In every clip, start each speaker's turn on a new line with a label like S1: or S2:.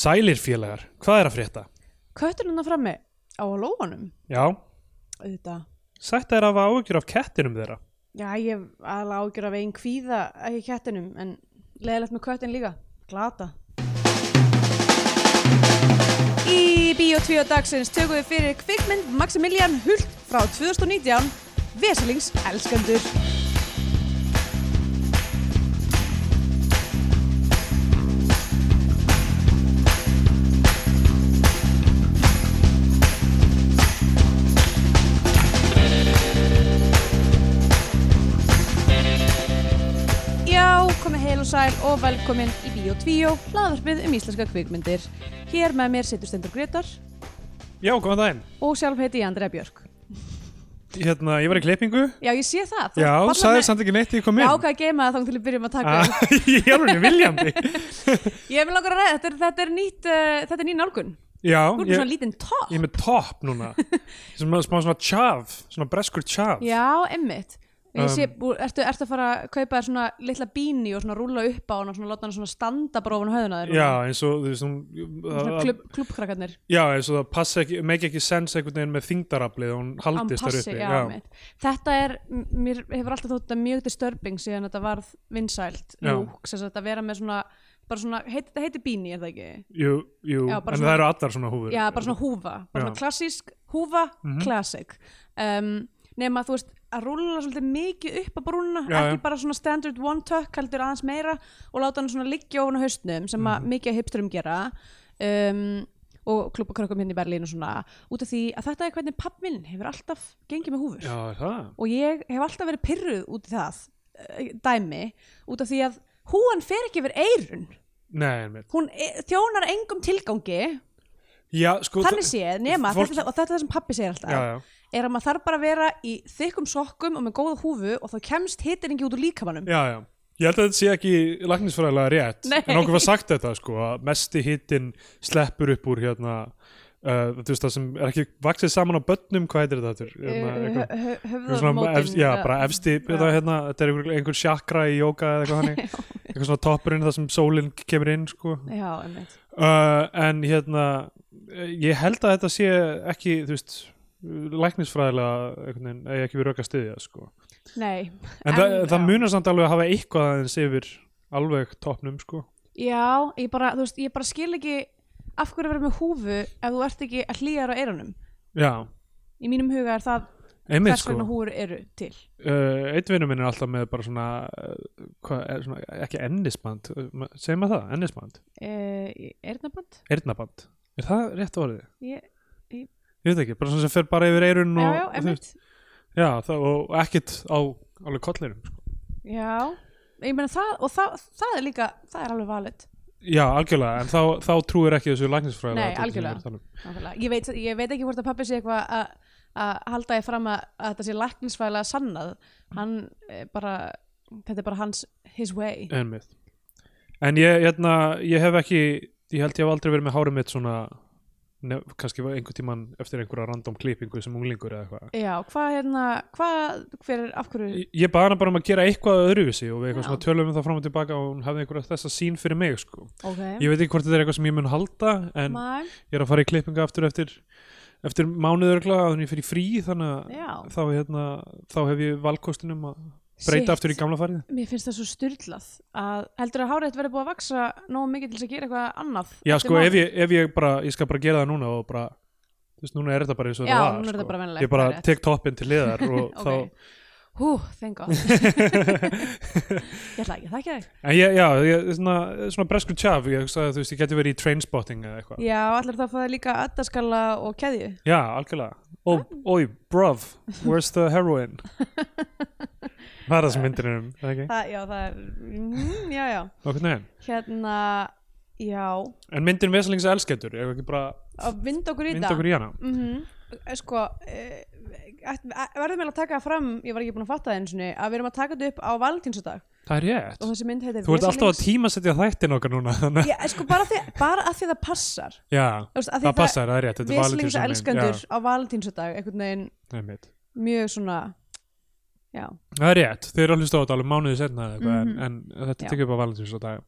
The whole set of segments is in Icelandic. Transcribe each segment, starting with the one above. S1: Sælir félagar, hvað er að frétta?
S2: Kötturinn hann frammi á að lóa honum
S1: Já,
S2: auðvitað.
S1: sætt er að hafa áhyggjur af kettinum þeirra.
S2: Já, ég hef aðla ágjör af einn kvíða ekki kettinum en leðilegt með köttin líka. Glata. Í Bíó 2 dagsins tökum við fyrir kvikmynd Maximilian Hult frá 2019 Veselings elskendur. Já, komið heil og sæl og velkomin í Bíó 2, hlaðvarpið um íslenska kvikmyndir. Hér með mér situr Stendur Gretar
S1: Já, góðan daginn.
S2: og sjálf heiti ég Andrea Björk.
S1: Hérna, ég var í klippingu.
S2: Já, ég sé það.
S1: Já, sæðir samt ekki neitt í kom
S2: minn.
S1: inn.
S2: Já, hvað geima það þannig til við byrjum að taka
S1: Ah,
S2: upp.
S1: Ég er alveg viljandi.
S2: Ég vil langar að ræða, þetta er, þetta er nýtt, uh, þetta er nýn nálgun.
S1: Já,
S2: Þú erum
S1: ég,
S2: svona lítinn topp.
S1: ég er með topp núna. Sem að- smá svona tjaf, svona breskur tjaf.
S2: Já, emmitt. Um, sé,
S1: Um.
S2: bú- ertu, ertu að fara að kaupa þér svona litla bíni og svona rúla upp á hana og svona láta hana svona standa bara ofan á höfðuna þér?
S1: Já, eins og þú veist, hún-
S2: Svona
S1: að-
S2: klubb, klubbkrakkarnir.
S1: já, eins og það passa ekki, make ekki sense einhvern veginn með þingdaraflið og hún
S2: Án
S1: haldist þar
S2: passi,
S1: uppi.
S2: já, einmitt. Þetta er, m- mér hefur alltaf þótt þetta mjög disturbing síðan þetta varð vinsælt
S1: Já.
S2: lúk, sem sagt að vera með svona, bara svona, heit, þetta heitir bíni, er það ekki?
S1: Jú, jú,
S2: Já, bara
S1: en
S2: svona-
S1: það eru allar svona húfur.
S2: Já, bara svona húfa, bara
S1: Já.
S2: svona klassísk húfa,
S1: Mhm.
S2: classic um, nema þú veist að rúlla svolítið mikið upp að brúna
S1: Já,
S2: ekki
S1: já.
S2: bara svona standard one tuck heldur aðeins meira og láta hann svona liggja ofan á haustnum sem
S1: Mhm.
S2: að mikið hipsturum gera um, og klubba krökkum hérna í Berlín og svona út af því að þetta er hvernig papp minn hefur alltaf gengið með húfur
S1: Já, er það.
S2: og ég hef alltaf verið pyrruð út í það eh, dæmi út af því að húan fer ekki yfir eirun
S1: Nei, einmitt.
S2: hún e þjónar engum tilgangi
S1: Já, sko,
S2: þannig
S1: það-
S2: séð, nema,
S1: fólk-
S2: þetta, er það- og þetta er það sem pappi segir alltaf,
S1: Já, já.
S2: er að maður þarf bara að vera í þykkum sokkum og með góða húfu og þá kemst hitinn ekki út úr
S1: Já,
S2: líkamannum.
S1: já. Ég held að þetta sé ekki lagnisfræðilega rétt,
S2: Nei.
S1: en okkur var sagt þetta sko, að mesti hittin sleppur upp úr hérna, uh, þú veist það sem er ekki vaksið saman á börnum, hvað heitir þetta? aftur? Hérna, eitthvað- eitthvað svona efst- Já, bara efsti, þetta, hérna, þetta er einhver, einhver sjakra í jóka eða eitthvað hannig, eitthvað svona toppurinn þar sem sólinn kemur inn sko.
S2: Já, einmitt.
S1: Uh, en hérna, eh, ég held að þetta sé ekki, þú veist, læknisfræðilega, einhvern veginn, eigi ekki við rök að styðja sko.
S2: Nei.
S1: En, það,
S2: En,
S1: það
S2: já.
S1: munar samt alveg að hafa eitthvað aðeins yfir alveg toppnum sko.
S2: Já, ég bara, þú veist, ég bara skil ekki af hverju að vera með húfu ef þú ert ekki að hlýja þér á eyrunum.
S1: Já,
S2: Í mínum huga er það
S1: einmitt
S2: hvers
S1: sko.
S2: vegna
S1: Uh,
S2: húfur eru til.
S1: eitt vinnu minn er alltaf með bara svona, uh, hvað, er svona ekki ennisband, uh, segir maður það, ennisband,
S2: Uh, Eirnaband?
S1: eirnaband. Er það rétt orðið?
S2: Ég,
S1: Ég veit ekki, bara svona sem fer bara yfir eirun
S2: já,
S1: og,
S2: já,
S1: þú veist,
S2: einmitt.
S1: já, það, og ekkert á alveg kollinum. Sko.
S2: Já, ég meina það, og það, það er líka, það er alveg valið.
S1: Já, algjörlega, en þá, þá trúir ekki þessu læknisfræðilega.
S2: Nei, algjörlega. Nákvæmlega. Ég veit, ég veit ekki hvort að pappi sé eitthvað að- að halda ég fram að, að þetta sé læknisfæðilega sannað hann eh, bara, þetta er bara hans his way
S1: Einmitt. En ég, hérna, ég hef ekki, ég held ég hef aldrei verið með hárið mitt svona, nef, kannski var einhvern tíman eftir einhverja random klippingu sem unglingur eða eitthvað.
S2: Já, hvað hérna, hvað, hver er, af hverju
S1: Ég- Ég baði hana bara um að gera eitthvað öðruvísi og við eitthvað
S2: Já.
S1: svona tölum um það fram og tilbaka og hún hafði einhverja þessa sín fyrir mig sko.
S2: ok,
S1: Ég veit ekki hvort þetta er eitthvað sem ég mun halda en
S2: mæ,
S1: ég er að fara í klippingu aftur eftir, eftir mánuður örgla að hún ég fyrir frí þannig
S2: já
S1: að þá, hérna, þá hef ég valkostinum að breyta
S2: Sitt.
S1: aftur í gamla farið.
S2: Mér finnst það svo styrlað að heldur að hárætt verið búið að vaksa nógu mikið til þess að gera eitthvað annað
S1: Já
S2: eftir
S1: sko ef
S2: mánuð?
S1: ég, ef ég bara, ég skal bara gera það núna og bara, þú veist núna er þetta bara eins og
S2: Já,
S1: þetta var sko.
S2: núna er þetta bara venjulegt,
S1: Ég bara
S2: það er rétt.
S1: tek toppinn til liðar og
S2: Ok, hú, þengu Ég ætla ekki að þekka þig
S1: þá En ég, já, ég, svona, svona breskur tjaf, ég hugsaði að þú veist, ég geti verið í trainspotting eða eitthvað
S2: Já, allir það að fá það líka addaskalla og keðju
S1: Já, algjörlega
S2: Ah.
S1: Ó, oi, bruv, where's the heroin? það er það sem myndir um, er það ekki?
S2: það, já, það er, mm, já, já,
S1: Okkur neginn
S2: hérna, já,
S1: En myndin veselings elskendur, ég hef ekki bara
S2: að vinda okkur í
S1: mynd okkur í hana
S2: Mm Sko, eh, ætt- æ- verðum við að taka það fram, ég var ekki búin að fatta það eins og niður, að við erum að taka þetta upp á valentínsdag
S1: Það er rétt
S2: og þessi mynd heitir
S1: Þú ert alltaf að tímasetja þættin okkar núna þannig að-
S2: Já, sko, bara, því, bara að því það passar
S1: Já,
S2: Þú veist, að því
S1: það passar, það er rétt Þetta er
S2: Veslings
S1: Valentínusson
S2: elskendur á valentínsdag, einhvern veginn
S1: Já, einmitt
S2: mjög svona, já,
S1: Það er rétt, þeir eru að hlusta á þetta alveg mánuði setna mm -hmm. en, en þetta
S2: Mhm. Já.
S1: er tekið upp á Valentins og dag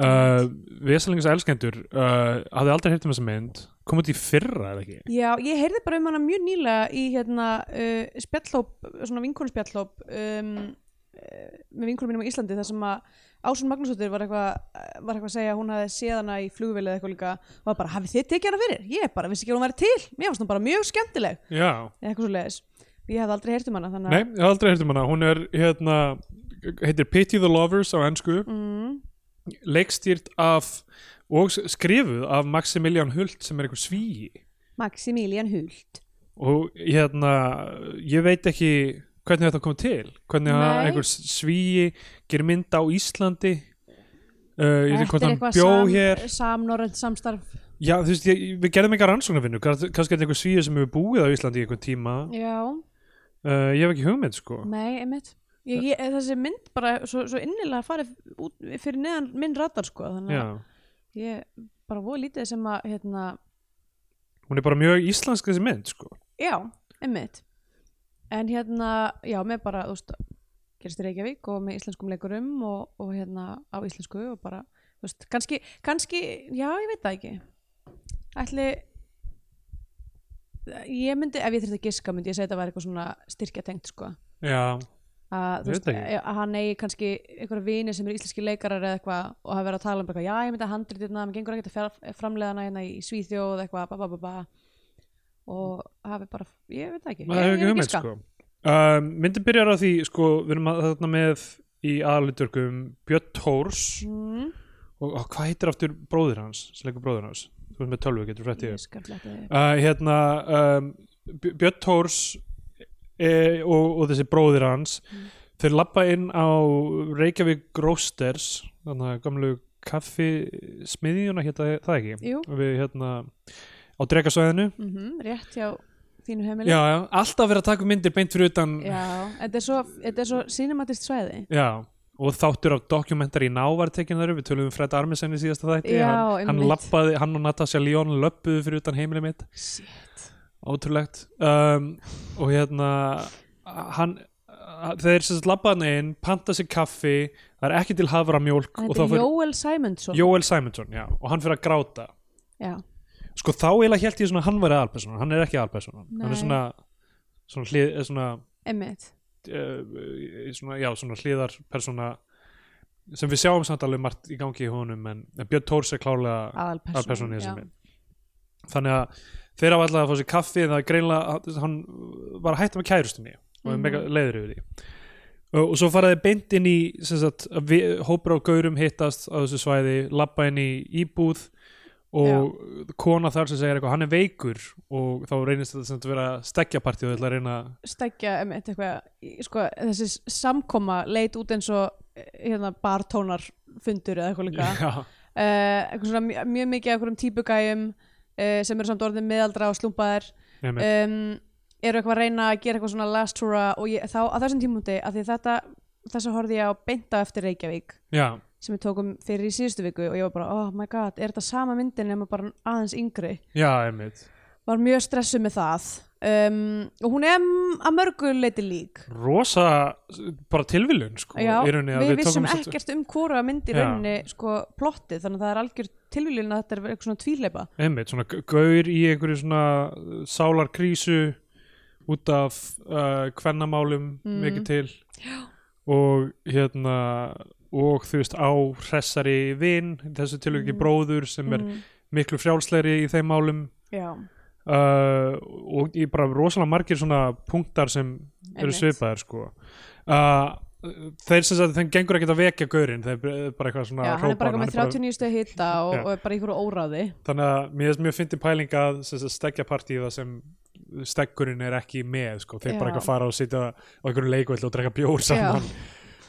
S1: uh, Vesalings elskendur uh, hafði aldrei heyrt um þessa mynd kom út í fyrra eða ekki
S2: Já, ég heyrði bara um hana mjög nýlega í hérna uh, spjallhóp, svona vinkonspjallhóp um, eh, með vinkonum mínum á Íslandi þar sem að Ásun Magnúsdóttir var eitthvað uh, var eitthvað að segja að hún hafði séð hana í flugvél eða eitthvað líka og var bara, hafið þið tekið hana fyrir? Ég bara vissi ekki að hún væri til, mér fannst hún bara mjög skemmtileg
S1: Já,
S2: eða eitthvað svo leiðis, ég hafði aldrei heyrt um hana þannig
S1: nei, ég hafði aldrei heyrt um hana hún er hérna, heitir Pity the Lovers á ennsku,
S2: að mm,
S1: leikstýrt af og s- skrifuð af Maximilian Hult sem er einhver svíi
S2: Maximilian Hult
S1: og hérna ég veit ekki hvernig þetta kom til hvernig að
S2: Nei.
S1: einhver svíi gerir mynd á Íslandi uh, ég veit ekki hvort hann bjó hér
S2: samnorrend samstarf
S1: já þú veist ég, við gerðum eitthvað rannsóknarvinnu kannski er þetta einhver svíi sem hefur búið á Íslandi í einhvern tíma
S2: Já,
S1: uh, ég hef ekki hugmynd sko
S2: nei, einmitt ég, ég, þessi mynd bara svo, svo innilega farið út fyrir neðan minn radar sko, þannig
S1: já.
S2: að ég bara voru lítið sem að hérna,
S1: hún er bara mjög íslensk þessi mynd sko
S2: já, einmitt en hérna, já, með bara þú veist, gerist í Reykjavík og með íslenskum leikurum og, og hérna á íslensku og bara, þú veist, kannski kannski, já, ég veit það ekki ætli ég myndi, ef ég þurfti að giska myndi ég segja þetta var eitthvað svona styrkja tengt sko
S1: já,
S2: að,
S1: Ég
S2: þú veist,
S1: veit ekki.
S2: að hann eigi kannski einhverja vini sem eru íslenski leikarar eða eitthvað og hafa verið að tala um eitthvað, já ég myndi að handrið þetta, maður gengur ekkert að fjár- framleiða hana hérna í Svíþjóð eða eitthvað, ba ba ba ba og hafi bara, ég veit það ekki
S1: maður hefur
S2: ég,
S1: ekki
S2: ég
S1: hugmynd sko um, myndin byrjar á því sko við erum að, þarna með í aðalutörkum Björn Tórs
S2: mm,
S1: og, og hvað heitir aftur bróðir hans sem leikur bróðir hans, þú veist með tölvu getur frætt í
S2: ég
S1: þess
S2: skal fletta þig
S1: uh, hérna um, Bj- Björn Tórs e, og, og þessi bróðir hans
S2: Mm.
S1: þeir lappa inn á Reykjavík Grosters þannig að gamlu kaffi smiðjuna hérna það ekki
S2: Jú.
S1: við hérna á dregasvæðinu
S2: mm rétt hjá þínu
S1: já,
S2: heimili
S1: já, alltaf verið að taka upp myndir beint fyrir utan
S2: Já, þetta er svo, þetta er svo cinematist svæði
S1: Já, og þáttur af dokumentari í návar tekin þar við tölum um Fred Armisen í síðasta þætti
S2: Já,
S1: hann, hann,
S2: einmitt.
S1: labbaði, hann og Natasha Lyonne löppuðu fyrir utan heimili mitt
S2: Shit
S1: ótrúlegt um, og hérna hann, þeir sem sagt labbaði hann inn panta sér kaffi, það er ekki til haframjólk og
S2: Þetta
S1: þá
S2: er Jóel Sæmundsson
S1: Jóel Simonsson já, og hann fyrir að gráta
S2: Já,
S1: sko þá eiginlega held ég svona að hann væri aðalpersonan hann er ekki aðalpersonan, hann
S2: Nei.
S1: er svona svona, hlið, eh, svona
S2: emmitt
S1: uh, svona, já, svona hliðarpersona sem við sjáum samt alveg margt í gangi í honum en, en Björn Tórs er klárlega aðalpersona í
S2: Aðalpersonu
S1: þessum mynd þannig að þeir hafa alltaf að fá sér kaffi en það er greinlega, hann var að hætta með kærustu mig og er
S2: Mhm.
S1: mega leiður yfir því og, og svo faraði beint inn í sem sagt, að við, hópur á gaurum hittast á þessu svæði, labba inn í íbúð og kona þar sem segir eitthvað, hann er veikur og þá reynist þetta sem sagt vera stekkjapartí og þau ætla að reyna að
S2: stækja einmitt eitthvað í- sko, þessi s- samkoma leit út eins og eh, hérna, bartónarfundur eða eitthvað líka yeah.
S1: Já.
S2: eitthvað svona mj- mjög mikið af einhverjum típugæjum uh, sem eru samt orðin meðaldra og slúmpaðir
S1: Einmitt.
S2: um, eru eitthvað að reyna að gera eitthvað svona last tour og ég, þá á þessum tímundi af því að þetta, þess að horfði ég á beinta eftir Reykjavík
S1: Já,
S2: sem við tókum fyrir í síðustu viku og ég var bara, oh my god, er þetta sama myndin nema bara aðeins yngri
S1: já, einmitt
S2: var mjög stressuð með það um, og hún er m- að mörgu leiti lík
S1: rosa bara tilviljun sko,
S2: Já,
S1: í rauninni að
S2: við vissum
S1: tókum samt-
S2: ekkert um hvora mynd í
S1: Já.
S2: rauninni sko, plottið, þannig að það er algjör tilvílun að þetta er eitthvað svona tvíleipa
S1: einmitt, svona g- gaur í einhverju svona uh, sálarkrísu út af uh, kvennamálum
S2: Mm.
S1: mikið til og hérna og þú veist á hressari vin, í þessu tilviki bróður sem er
S2: Mm,
S1: miklu frjálslegri í þeim málum
S2: Já,
S1: uh, og í bara rosalega margir svona punktar sem eru
S2: Einmitt.
S1: svipaðir sko uh, þeir sem sagt, þeim gengur ekkert að vekja gaurinn þeir er bara eitthvað svona að
S2: Já hann er
S1: hrópa á
S2: bara eitthvað með
S1: hann er
S2: 39 stöð hita og,
S1: Já.
S2: og er bara í einhverju óráði
S1: þannig að mér finnst mjög fyndi pæling að stegja partíð sem stegurinn er ekki með sko. þeir
S2: Já.
S1: bara eitthvað fara og sitja á einhverju leikvöld og drekka bjór saman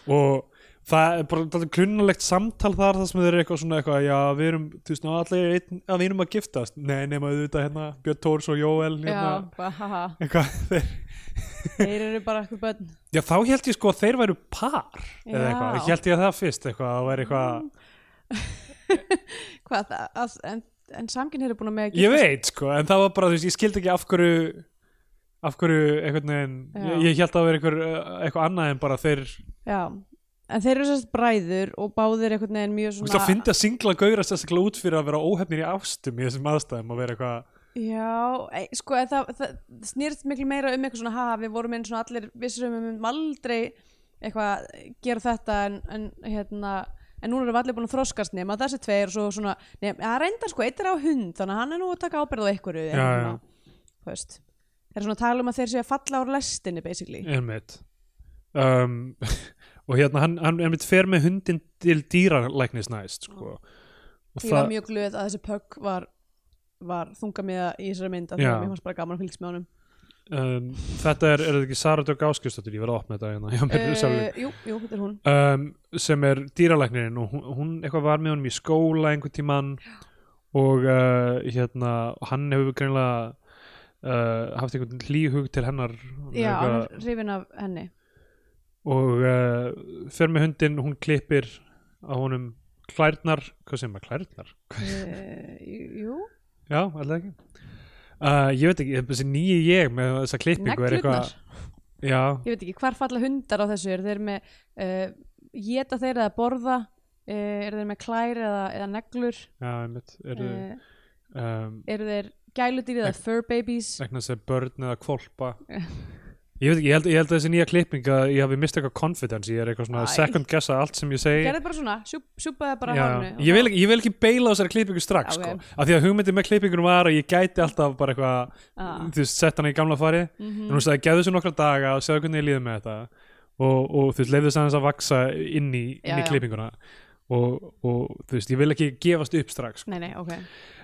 S1: og það er bara þetta klunnulegt samtal þar þar sem þeir eru eitthvað svona eitthvað já við erum, þú veist, ná, allir einn, að við erum að giftast nei nema auðvitað hérna Björn Tórs og Jóel
S2: Já,
S1: hérna,
S2: bara haha,
S1: eitthvað þeir
S2: þeir eru bara eitthvað börn
S1: Já, þá held ég sko að þeir væru par eða
S2: Já.
S1: eitthvað, ég held ég að það fyrst eitthvað, að það væri eitthvað,
S2: Hvað, það, að, en, en samkinn eru búin að með að
S1: ég veit sko en það var bara, þú veist, ég skildi ekki af hverju af hverju einhvern veginn
S2: Já.
S1: eh, ég, ég held að það væri einhver, uh, eitthvað annað en bara þeir
S2: Já, en þeir eru sérst bræður og báðir einhvern veginn mjög
S1: Þú veist
S2: svona
S1: að finna singla gauðra sérstaklega út fyrir að vera óhefnir í ástum í þessum aðstæðum að vera eitthvað
S2: Já, e, sko e, það, það snýrst miklu meira um eitthvað svona haha, við vorum einn svona allir vissir um að við myndum aldrei eitthvað gera þetta en, en hérna en núna erum við allir búin að þroskast nema þessi tveir og svo svona, nema, að reynda sko, eitt er á hund þannig að hann er nú að taka ábyrð á einhverju en
S1: Já, já.
S2: svona, þú veist þeir eru svona að tala um að þeir séu að falla úr lestinni basically
S1: einmitt um, og hérna hann, hann einmitt fer með hundin til dýralæknis næst sko. og
S2: ég var mjög glöð að þessi pögg var, var þunga með í þessari mynd að
S1: Já.
S2: það mér fannst bara gaman að fylgst með honum
S1: um, þetta er, er þetta ekki Sara Dögg Áskjöfstóttir ég verði að opna þetta hérna hjá mér sjálfur.
S2: Eh, jú, jú, þetta er hún
S1: um, sem er dýralæknirinn og hún, hún eitthvað var með honum í skóla einhvern tímann og uh, hérna hann hefur greinlega uh, haft einhvern hlýhug til hennar
S2: já, hann
S1: eitthvað,
S2: er hrifin af henni
S1: og uh, fer með hundin, hún klippir á honum klærnar hvað sem er klærnar?
S2: uh, jú,
S1: Já, alltaf ekki uh, ég veit ekki, þessi nýju ég með þessa klippingu er
S2: neglutnar
S1: eitthvað já,
S2: ég veit ekki, hvar falla hundar á þessu eru þeir með uh, geta þeir eða borða uh, eru þeir með klær eða, eða neglur
S1: já, einmitt eru,
S2: uh,
S1: um,
S2: eru þeir gæludýr eða fur babies
S1: vegna þess að börn eða kvolpa ég veit ekki, ég held, ég held að þessi nýja klipping að ég hafi mistað eitthvað confidence ég er eitthvað svona
S2: Æ.
S1: second guessa allt sem ég segi
S2: gerðu bara svona, sjúp, sjúpaðu bara
S1: Já.
S2: hárinu og
S1: ég, vil, ekki- ég vil ekki beila á þessari klippingu strax
S2: Já,
S1: sko.
S2: ok.
S1: af því að hugmyndin með klippingunum var að ég gæti alltaf bara eitthvað,
S2: Ah. Mm. Mhm.
S1: þú veist, sett hana í gamla fari en hún sagði, gefðu þessu nokkra daga og segðu hvernig ég líði með þetta og, og þú veist, leifðu þess aðeins að vaksa inn í,
S2: Já,
S1: inn í
S2: já.
S1: klippinguna og, og þú veist, ég vil ekki gefast upp strax sko.
S2: Nei, nei, ok.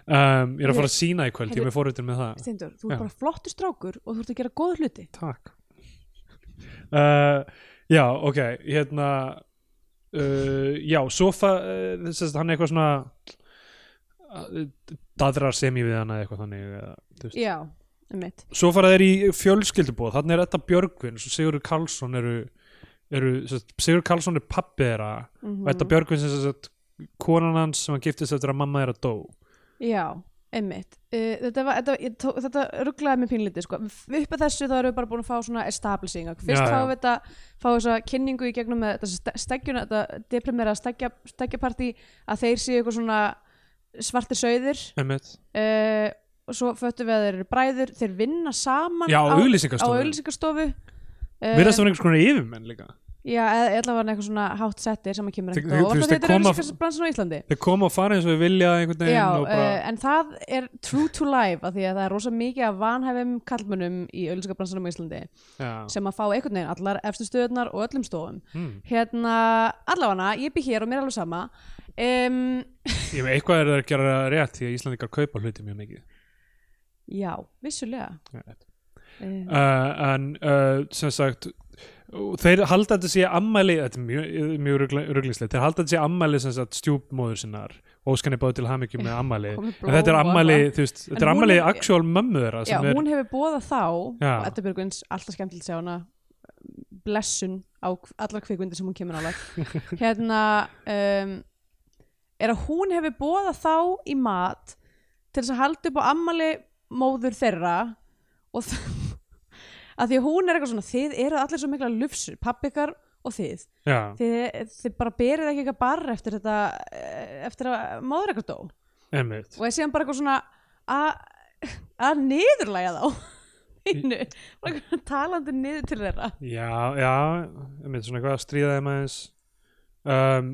S1: um, ég er að fara að sína í kvöld, ég
S2: Heyrðu-
S1: er með fórutin með það
S2: Steindur, þú ert
S1: Já.
S2: bara flottur strákur og þú ert að gera góð hluti.
S1: Takk uh, Já, ok Hérna uh, Já, sofa uh, sérst, Hann er eitthvað svona uh, dadrar semi við hana eða eitthvað þannig eða, þú veist.
S2: Já, um mitt.
S1: Svo fara þeir í fjölskyldubóð Þannig er þetta Björgvin og Sigurður Karlsson eru, eru sérst, Sigurður Karlsson er pappi þeirra og
S2: Mm.
S1: þetta Björgvin sem sagt konan hans sem hann giftist eftir að mamma þeirra dó
S2: Já, einmitt uh, þetta, var, þetta, ég tó, þetta rugglaði mig pínlítið sko. Við upp að þessu þá erum við bara búin að fá svona establishing fyrst
S1: Já, já.
S2: fáum við þetta, fá þessa kynningu í gegnum með þessa ste- steggjuna þetta deprimera steggja, steggjapartí að þeir séu eitthvað svona svartir sauðir
S1: Einmitt.
S2: uh, og svo föttum við að þeir eru bræður þeir vinna saman
S1: Já,
S2: á,
S1: og
S2: á
S1: auglýsingastofu
S2: auðlýsingastofu
S1: Við erum það einhvers konar yfirmenn líka
S2: Já, eða eða var hann eitthvað svona hátt settir sem að kemur
S1: Þe-
S2: ekkert
S1: þe-
S2: á
S1: þú
S2: óvart
S1: veist,
S2: og
S1: þeir
S2: þetta er
S1: koma-
S2: auðlýsingastofu á Íslandi
S1: Þeir koma og fara eins og við vilja einhvern veginn
S2: Já,
S1: og bara...
S2: uh, en það er true to life af því að það er rosa mikið af vanhæfum kallmönnum í auðlýsingabransanum á Íslandi
S1: Já.
S2: sem að fá einhvern veginn allar efstu stöðunar og öllum stofum
S1: Hmm.
S2: hérna, allafana, ég bygg hér og mér er alveg sama um,
S1: Ég veit eitthvað er það að gera rétt því að Íslandingar kaupa hluti mjög mikið
S2: já, vissulega
S1: uh,
S2: uh,
S1: en uh, sem sagt og þeir halda þetta sé ammæli þetta er mjög, mjög ruglislegt þeir halda þetta sé ammæli sem sagt stjúpmóður sinnar og óskan er báð til hamingju með ammæli
S2: Komið
S1: Eh, en þetta er
S2: blóm og
S1: ammæli,
S2: eitthvað.
S1: þú veist,
S2: En
S1: þetta er
S2: hún
S1: ammæli
S2: er-
S1: actual mömmu þeirra
S2: já,
S1: sem er,
S2: hún hefur bóða þá
S1: Já.
S2: og Edda Björgvins, alltaf skemmtilegt að sjá hana blessun á k- allar kvikmyndir sem hún kemur alveg hérna um, er að hún hefur bóða þá í mat til þess að halda upp á ammali móður þeirra og það að því að hún er eitthvað svona þið eru allir svo mikla lufsur, pappikar og þið
S1: já,
S2: þið, þið bara berið ekki eitthvað barr eftir þetta eh, eftir að móður eitthvað dó og
S1: einmitt
S2: er síðan bara eitthvað svona að- að niðurlæga þá innu, bara eitthvað talandi niður til þeirra
S1: já, já, einmitt svona eitthvað að stríða þeim aðeins um,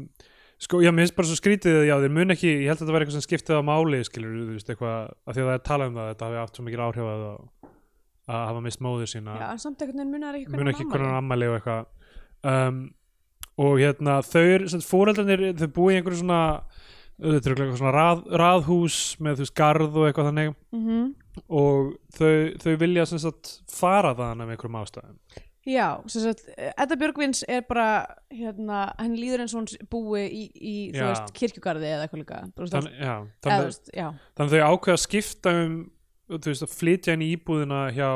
S1: sko, já, mér finnst bara svo skrítið já, þeir mun ekki, ég held að þetta var eitthvað sem skiptið á máli skilur, þú veist, eitthvað, af því að það er talað um það þetta hafi haft svo mikil áhrif að, að hafa mist móður sína
S2: Já, en samt einhvern veginn munar ekki
S1: mun ekki hvernig
S2: hann
S1: hann ammæli og eitthvað um, og hérna þau eru, fóreldarnir, þau búi í einhverju svona þetta er eitthvað svona rað, raðhús með þú veist garð og eitthvað þannig
S2: mm -hmm.
S1: og þau, þau vilja sem sagt fara þaðan af einhverjum ástæðum
S2: Já, sem sagt, Edda Björgvins er bara, hérna, henni líður eins og hún búi í, í þú
S1: Já.
S2: veist, kirkjugarði eða eitthvað líka Þú veist,
S1: Þann,
S2: Þann,
S1: já,
S2: eða, þú
S1: þannig,
S2: veist, já,
S1: þannig þau ákveða að skipta um þú veist að flytja henni í íbúðina hjá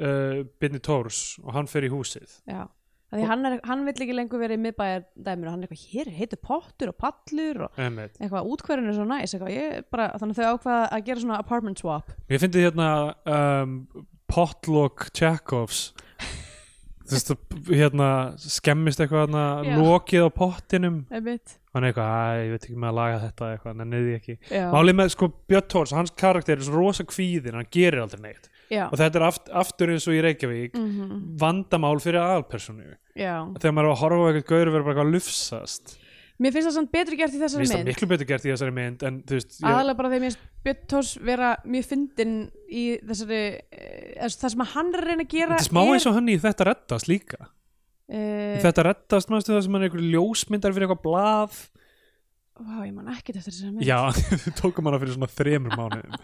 S1: uh, Binni Tórs og hann fer í húsið
S2: já Af Því hann, er, hann vill ekki lengur verið í miðbæjardæmur og hann er eitthvað, hér er heitur pottur og pallur og
S1: Einmitt.
S2: eitthvað, útkverðin er svo næs eitthvað, ég bara, þannig að þau ákvaða að gera svona apartment swap
S1: Ég fyndi hérna um, potluck Chekhovs þú veist, hérna skemmist eitthvað hérna,
S2: Já.
S1: lokið á pottinum
S2: einmitt
S1: hann er eitthvað, "Æ, ég veit ekki með að laga þetta eitthvað, hann er því ekki
S2: já,
S1: Málið með sko Björn Tórs, hans karakter er svo rosa kvíðin, hann gerir aldrei neitt
S2: já,
S1: og þetta er aft, aftur eins og í Reykjavík
S2: Mm. Mhm.
S1: vandamál fyrir aðalpersonu
S2: já.
S1: þegar maður er að horfa á eitthvað gaur og verður bara eitthvað að lufsast
S2: mér finnst það samt betur gert í
S1: mér
S2: þessari
S1: finnst það
S2: mynd
S1: miklu betur gert í þessari mynd en þú veist, ég,
S2: aðalega bara þegar mér finnst Björn Tórs vera mjög fyndin í þessari eh, þess- það sem að hann er að reyna að gera
S1: þetta er smá eins og hann í þetta reddast líka
S2: uh,
S1: í þetta reddast, mannstu það sem hann er einhver ljósmyndar fyrir eitthvað blað
S2: Vá, ég man ekkert eftir þessari mynd
S1: já, þau tókum hana fyrir svona þremur mánuðum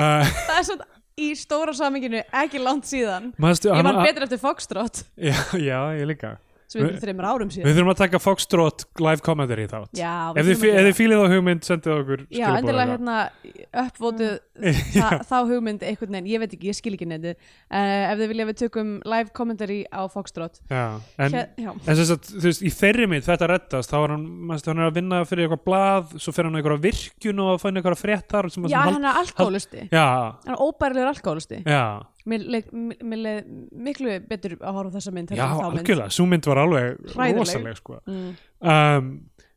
S1: uh,
S2: það er svona í stóra saminginu ekki langt síðan
S1: mannstu,
S2: ég
S1: hann,
S2: man betur eftir Foxtrot
S1: já, já, ég líka
S2: sem er fyrir þreymur árum
S1: við
S2: síðan
S1: þurfum að taka Foxtrot live commentary í þátt
S2: já,
S1: ef
S2: við
S1: þið,
S2: þurfum
S1: fí-
S2: að
S1: ef
S2: gera
S1: þið fílið á hugmynd sendið okkur
S2: Já,
S1: skilaboð
S2: endilega
S1: eða-
S2: hérna uppvótuð þa- þá hugmynd einhvern veginn, ég veit ekki, ég skil ekki neitt uh, ef þið vilja að við tökum live commentary á Foxtrot
S1: já, en,
S2: Hér- já.
S1: en sem sagt, þú veist, í þeirri mynd þetta reddast, þá er hann, mannstu, hann er að vinna fyrir eitthvað blað, svo fer hann á einhverja virkjun og að fæna einhverja fréttar sem,
S2: já,
S1: sem
S2: hann er alkoholisti
S1: já,
S2: hann er óbærilegur alkoholisti
S1: já,
S2: mér leið mér- mér leið miklu betur að horfa á þessa mynd
S1: já,
S2: heldur en þá mynd.
S1: algjörlega sú mynd var alveg
S2: Hræðileg.
S1: rosaleg sko.
S2: Mm.
S1: um,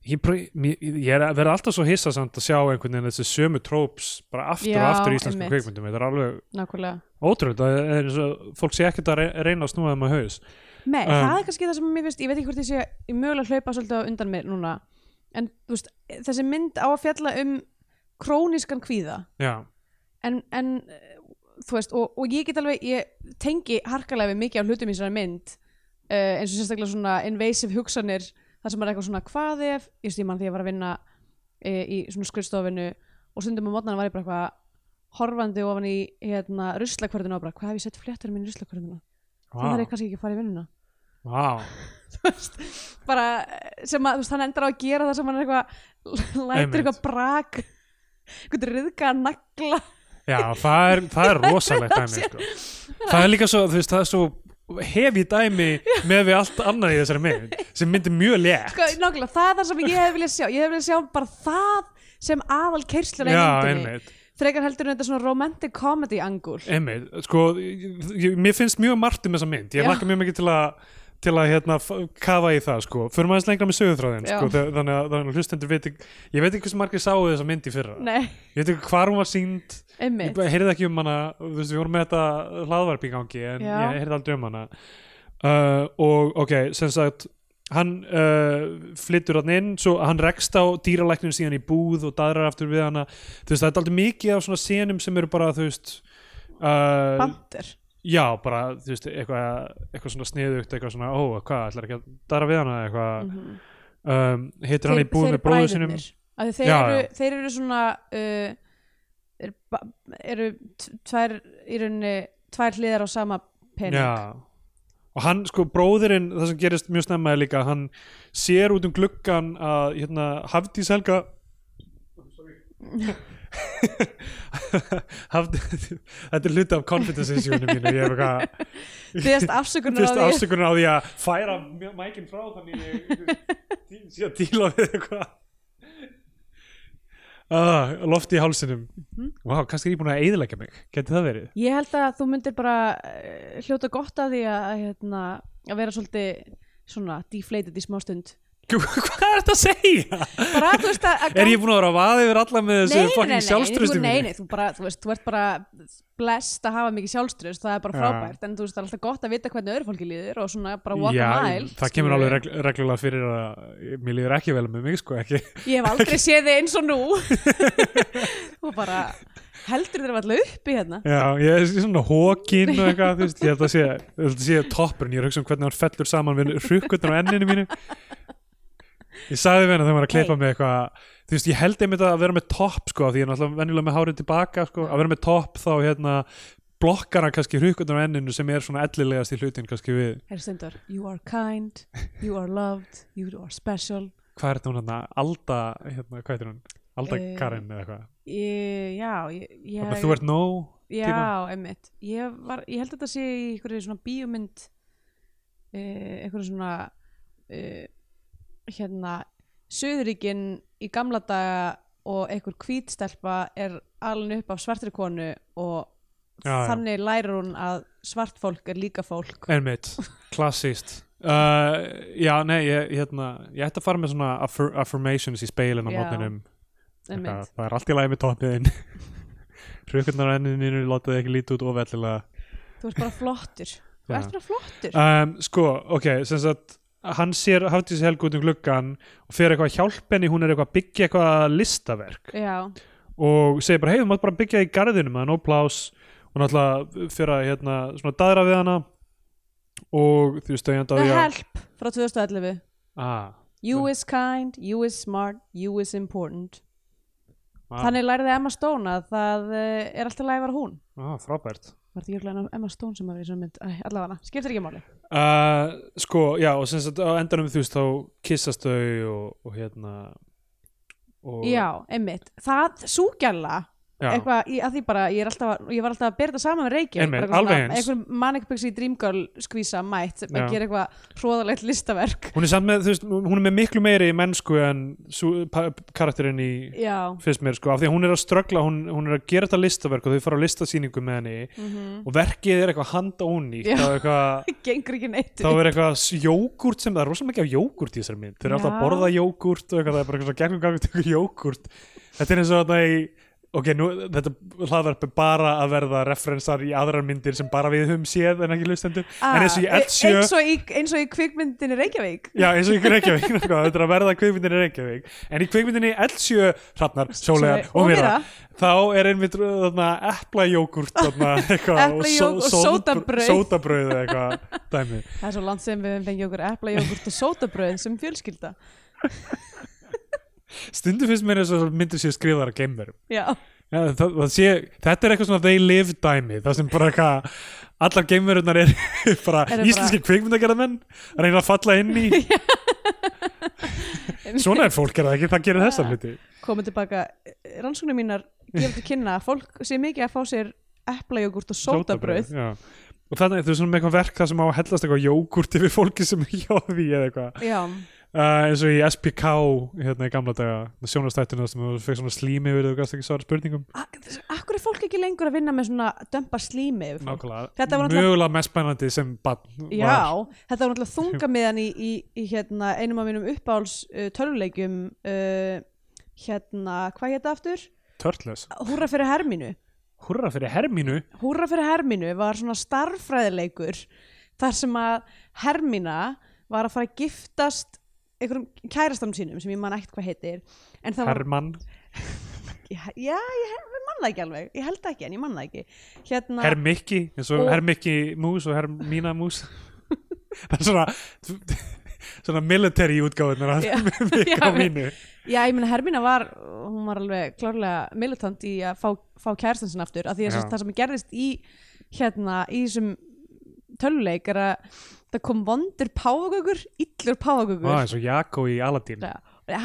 S1: ég, pr- mér- ég er að vera alltaf svo hissa samt að sjá einhvern veginn þessi sömu tróps bara aftur og
S2: Já,
S1: aftur í íslenskum
S2: einmitt.
S1: kveikmyndum þetta er alveg
S2: nákvæmlega
S1: ótrúld það er eins og fólk sé ekkert að re- reyna að snúa þeim að haus
S2: Nei,
S1: Um,
S2: það er kannski það sem mér finnst, ég veit ekki hvort ég sé ég mögulega að hlaupa svolítið á undan mér núna en þú veist, þessi mynd á að fjalla um krónískan kvíða
S1: já,
S2: en, en eh, þú veist, og, og ég get alveg ég tengi harkalega við mikið á hlutum í þessari mynd uh, eins og sérstaklega svona invasive hugsanir þar sem er eitthvað svona hvað ef, ég veist, ég mann því ég var að vinna uh, í svona skurðstofinu og stundum á mótnana var ég bara eitthvað horfandi ofan í hérna ruslakvörðinu og bara hvað hef ég sett fléttur minn í ruslakvörðinu
S1: vá,
S2: það þarf ég kannski ekki að fara í vinnuna
S1: vá
S2: bara eh, sem að þú veist hann endar á að gera það sem hann er eitthvað
S1: Einmitt.
S2: lætur eitthvað brak eitthvað riðka að nagla
S1: Já, það er, það er rosalegt dæmi sko. Það er líka svo, þú veist, það er svo hefi dæmi með við allt annað í þessari mynd sem myndir mjög létt
S2: sko, nákvæmlega, það er það sem ég hef viljað sjá ég hef viljað sjá bara það sem aðal keirslu
S1: Já,
S2: reyndinni
S1: einmitt,
S2: frekar heldur en þetta svona romantic comedy angul
S1: einmitt sko, ég, ég- mér finnst mjög margt um þessa mynd ég
S2: Já.
S1: lakka mjög mikið til að til að hérna f- kafa í það sko fyrir maður lengra með sögurþráðin
S2: Já.
S1: sko, þe- þannig að, þannig að hlustendur veit ekki ég veit ekki hversu margir sáu þessa mynd í fyrra
S2: nei,
S1: ég veit ekki hvar hún var sínd ég
S2: einmitt
S1: bara heyrði ekki um hana þú veist, við vorum með þetta hlaðvarp í gangi en
S2: Já.
S1: ég heyrði aldrei um hana uh, og ok, sem sagt hann uh, flyttur hann inn svo hann rekst á dýralæknum síðan í búð og daðrar aftur við hana þú veist, það er aldrei mikið af svona senum sem eru bara þú veist uh,
S2: bandur
S1: já, bara þú veist, eitthvað, eitthvað svona sniðugt eitthvað svona, ó, hvað, ætlar ekki að daðra við hana eitthvað, um, hittir hann í búð með bróðu sínum
S2: af því þeir,
S1: Já,
S2: eru,
S1: já.
S2: þeir eru svona uh, eru, ba- eru t- tvær í rauninni tvær hliðar á sama pening
S1: Já. Og hann, sko, bróðirinn, það sem gerist mjög snemma er líka, að hann sér út um gluggan að, hérna, Hafdís Helga Hafdís, þetta er hluti af confidence issue-unum mínu, ég er eitthvað
S2: Biðjast afsökunar á
S1: fyrst
S2: því.
S1: afsökunar á því að færa mjö- mækinn frá þannig ég sé að díla við eitthvað ah, loft í hálsinum Vá, kannski er ég búin að eyðileggja mig geti það verið?
S2: Ég held að þú myndir bara eh, hljóta gott að því að, að, hérna, að vera svolítið svona deflated í smá stund
S1: Hvað er þetta að segja?
S2: bara þú veist að, að
S1: Er ég búin að vera að vaða yfir alla með þessu fucking
S2: þú,
S1: sjálfströsti
S2: nei, nei, þú, bara, þú, veist, þú ert bara blessed að hafa mikið sjálfströst það er bara
S1: Já.
S2: frábært, en þú veist það er alltaf gott að vita hvernig öðru fólki líður og svona bara walk
S1: Já,
S2: a mile
S1: það kemur alveg regl reglulega fyrir að mér líður ekki vel með mig, sko, ekki.
S2: ég hef aldrei séð þið eins og nú og bara heldur þér allir uppi hérna
S1: Já, ég er svona hókin og eitthvað, þú veist, ég held að sé, ég held að sé toppurinn, ég er að hugsa um hvernig hann fellur saman við hrukkutin á enninu mínu. Ég sagði við henni að þau var að klippa
S2: Hey.
S1: mig eitthvað, þú veist, ég held einmitt að vera með topp, sko, af því ég er náttúrulega venjulega með hárið tilbaka, sko, að vera með topp þá, hérna, blokkar hann kannski hrukkutin á enninu sem er svona ellilegast í hlutin kannski við,
S2: Herri Steindor, you are kind, you are loved, you are special
S1: hvað er þetta hún hérna, Alda hérna, hvað heitir hún, Alda
S2: Eh,
S1: Karin eða eitthvað,
S2: Ég, já, ég, ég,
S1: þannig að þú ert nóg
S2: já,
S1: tíma?
S2: einmitt ég, var, ég held að þetta sé í einhverju svona bíómynd uh, einhverju svona uh, hérna Suðuríkin í gamla daga og einhver hvítstelpa er alin upp af svartri konu og
S1: Já, já.
S2: þannig lærir hún að svart fólk er líka fólk
S1: Einmitt, klassist uh, Já, nei, ég, hérna, ég ætti að fara með svona affir affirmations í speilin á
S2: Já,
S1: mótninum
S2: einmitt.
S1: Það er allt í lagi með tónniðin Hrukkurnar á enninu látaði ekki lítið út ofællilega
S2: þú ert bara flottur þú
S1: Já.
S2: ert bara flottur
S1: um, Sko, ok, sem sagt hann sér Hafdís Helgu út um gluggan og fer eitthvað að hjálpa henni, hún er eitthvað að byggja eitthvað listaverk
S2: já,
S1: og segir bara, hei, þú mátt bara byggja í garðinum það er nóg plás og náttúrulega fyrir að hérna, svona daðra við hana og þú veist, þau enda á
S2: the
S1: því að-
S2: help frá 2011
S1: Ah,
S2: you is kind, you is smart you is important
S1: ah,
S2: þannig læriði Emma Stone að það eh, er alltaf læg að vera hún
S1: ah, frábært
S2: var þetta jökulega Emma Stone sem að vera í svona mynd Æ, allavega, skiptir ekki máli
S1: Uh, sko, já, og sem sagt á endanum þú veist þá kissast þau og, og hérna og,
S2: já, einmitt, það súgjalla
S1: já,
S2: eitthvað, í- að því bara, ég, er alltaf, að- ég var alltaf að bera þetta saman með Reykjavík
S1: Einmitt,
S2: bara eitthvað
S1: alveg
S2: svona-
S1: eins.
S2: einhver manikbyggsi í Dream Girl skvísa mætt sem
S1: Já.
S2: að gera eitthvað hróðalegt listaverk
S1: hún er samt með, þú veist, hún er með miklu meiri mennsku en sú, pa, karakterinn í
S2: já,
S1: fyrst mér, sko, af því að hún er að ströggla hún, hún er að gera þetta listaverk og þau fara á listasýningu með henni og verkið er eitthvað handónýtt
S2: Mm. Já.
S1: þá er eitthvað,
S2: mhm. gengur ekki neitt
S1: þá er eitthvað s- jógúrt sem, það er rosa mikið af jógúrt í þessari mynd, þau eru alltaf að
S2: Já.
S1: borða jógúrt og eitthvað, það er bara eitthvað gegnum gangi tökur jógúrt þetta er eins og þarna í ok, nú, þetta hlaðverf er bara að verða referensar í aðrar myndir sem bara við höfum séð en ekki lustendur
S2: Ah,
S1: en eins og í
S2: e-
S1: Eldsjö
S2: eins og í, eins og í kvikmyndinni Reykjavík
S1: Já, eins og í Reykjavík, nákvæmlega, þetta er að verða kvikmyndinni Reykjavík En í kvikmyndinni Eldsjö, Hrafnar, Sjólegar
S2: Sóleyjar
S1: og
S2: og
S1: Mýra
S2: Mýra.
S1: Þá er einmitt þarna, eplajógurt þarna, eitthvað, og
S2: Eplajóg- og
S1: só-
S2: sódabrauð.
S1: Sódabrauð eða eitthvað dæmi
S2: það er svo langt sem við höfum fengið okkur eplajógurt og sótabröð sem fjölskylda
S1: Stundu finnst mér eins og þessar myndir séu skrifaðar að geimverum
S2: já,
S1: Já, það, það sé, þetta er eitthvað svona they live dæmi, það sem bara eitthvað allar geimverunar er bara
S2: Eru bara-
S1: íslenski kvikmyndagerðamenn að reyna að falla inn í svona er fólk er það ekki, það gerir þessa hluti
S2: komið tilbaka eh, rannsóknir mínar gefur til kynna að fólk sé mikið að fá sér eplajógurt og sótabröð
S1: Já. og þannig þú er svona með eitthvað verk það sem á að hellast eitthvað jógurt yfir fólki sem ekki á því eða eitthvað
S2: já,
S1: uh, eins og í SPK hérna í gamla daga sjónastættuna sem þú fekk svona slími yfir þau gæst ekki svara spurningum
S2: akkur er fólk ekki lengur að vinna með svona dömpa slími yfir fólk? Þetta
S1: nákvæmlega,
S2: var náttúrulega-
S1: mögulega mest spennandi sem bann var
S2: Já, þetta var náttúrulega þungamiðan í, í, í hérna, einum af mínum uppáhals uh, tölvuleikjum uh, hérna, hvað hétta aftur?
S1: törtlös
S2: Húra fyrir herminu
S1: hurra fyrir hermínu
S2: Húra fyrir herminu var svona starffræðileikur þar sem að hermina var að fara að giftast einhverjum kærastanum sínum sem ég man ekkert hvað heitir en það var
S1: Hermann,
S2: já, já, ég, ég man það ekki alveg, ég held það ekki en ég man það ekki hérna,
S1: Hermikki eins og
S2: Og-
S1: Hermikki mús og Hermína mús það er svona svona military útgáðunar
S2: Já,
S1: Mikki
S2: já,
S1: og mínu
S2: Já, ég meina Hermína var, hún var alveg klárlega militant í að fá, fá kærastan sinna aftur af því að
S1: Já.
S2: sem- það sem gerðist í hérna, í þessum töluleik er að það kom vondur páfagögur, illur
S1: ah,
S2: páfagögur
S1: eins og Jakko í Aladdin
S2: Já.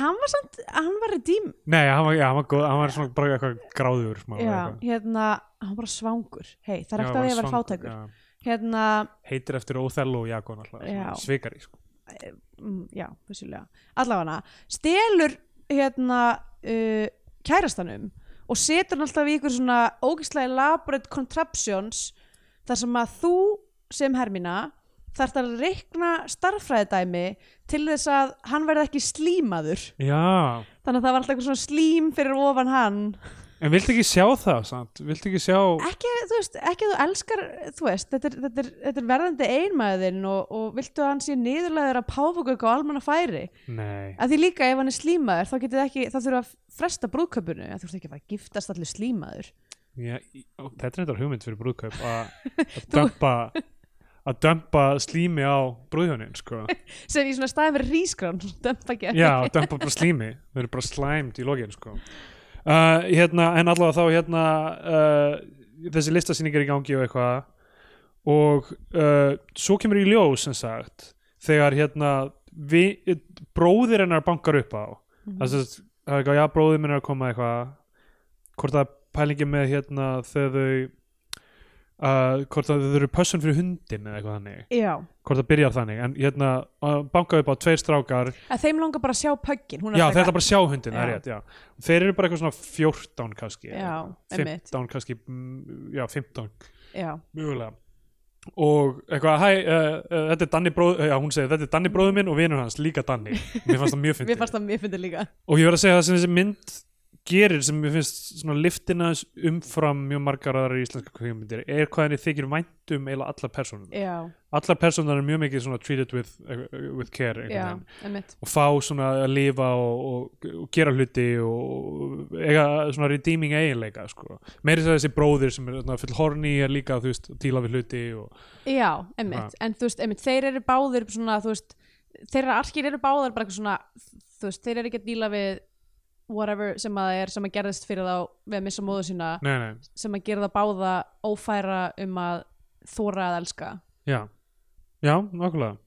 S2: hann var samt, hann var redeem
S1: nei, hann var, já, hann var, góð, hann var svona bara eitthvað gráður smá,
S2: já, hérna, hann var bara svangur hei, það er ekkert að ég var fátækur
S1: já.
S2: hérna,
S1: heitir eftir Óþello og Jakko
S2: Já.
S1: náttúrulega svikari sko.
S2: mm, já, vissulega allafana, stelur hérna uh, kærastanum og setur hann alltaf í ykkur svona ógeðslega elaborate contraptions þar sem að þú sem Hermína þarft að reikna starffræðidæmi til þess að hann verði ekki slímaður
S1: já,
S2: þannig að það var alltaf eitthvað svona slím fyrir ofan hann
S1: en viltu ekki sjá það samt? viltu ekki sjá
S2: ekki, þú veist, ekki að þú elskar þú veist, þetta er, þetta er, þetta er verðandi einmaðin og, og viltu að hann sé niðurlegaður að páfugögg á almanna færi
S1: nei,
S2: að því líka ef hann er slímaður þá getið þið ekki, þá þurfa að fresta brúðköpunu að þú ert ekki að fara að giftast allir slímaður
S1: já, í- ó, þetta er eitthvað hugmynd fyrir brúðkaup að að dömpa að dömpa slími á brúðhjónin sko
S2: sem í svona staðin verið rískrán dömpa ekki
S1: Já, dömpa bara slími Þau eru bara slæmd í lokin sko. uh, hérna, En allavega þá hérna, uh, Þessi listasýning er í gangi og eitthvað Og uh, svo kemur í ljós sem sagt Þegar hérna vi, Bróðir hennar bankar upp á mm -hmm. Það er eitthvað, já, bróðir minn er að koma eitthvað Hvort að pælingi með hérna Þegar þau uh, hvort að þau eru pössun fyrir hundin eða eitthvað þannig,
S2: já,
S1: hvort það byrjar þannig en hérna, uh, bankaði upp á tveir strákar
S2: að þeim langar bara að sjá pöggin hún er
S1: já,
S2: alltaf
S1: þeir ætla bara að sjá hundin, það er
S2: Já.
S1: rétt, já þeir eru bara eitthvað svona 14 kannski
S2: Já, einmitt.
S1: 15 kannski, mm, já, 15
S2: eitthvað- já,
S1: mögulega og eitthvað, hæ, uh, uh, þetta er Danni bróð já, hún segir, þetta er Danni bróður minn og vinur hans líka Danni, mér fannst það mjög
S2: mér
S1: fyndið
S2: fannst það mér fyndið líka
S1: og ég verð að segja það sem þessi mynd gerir sem mér finnst svona liftina aðeins umfram mjög margar aðra íslenska kvíkmyndir er hvað henni þykir vænt um eiginlega allar persónum
S2: já,
S1: allar persónum er mjög mikið svona treated with, eh, with care einhvern
S2: já,
S1: veginn.
S2: einmitt
S1: og fá svona að lifa og, og, og gera hluti og eiga svona redeeming eiginleika sko. meiri þess að þessi bróðir sem er svona, full horny er líka þú veist, að tíla við hluti og,
S2: Já, einmitt, en þú veist, einmitt, þeir eru báðir svona, þú veist, þeirra arkir eru báðar bara eitthvað svona, þú veist, þeir eru ekki að díla við whatever sem að það er sem að gerðist fyrir þá við að missa móðu sína
S1: nei, nei,
S2: sem að gera það báða ófæra um að þóra að elska
S1: já já, nokkulega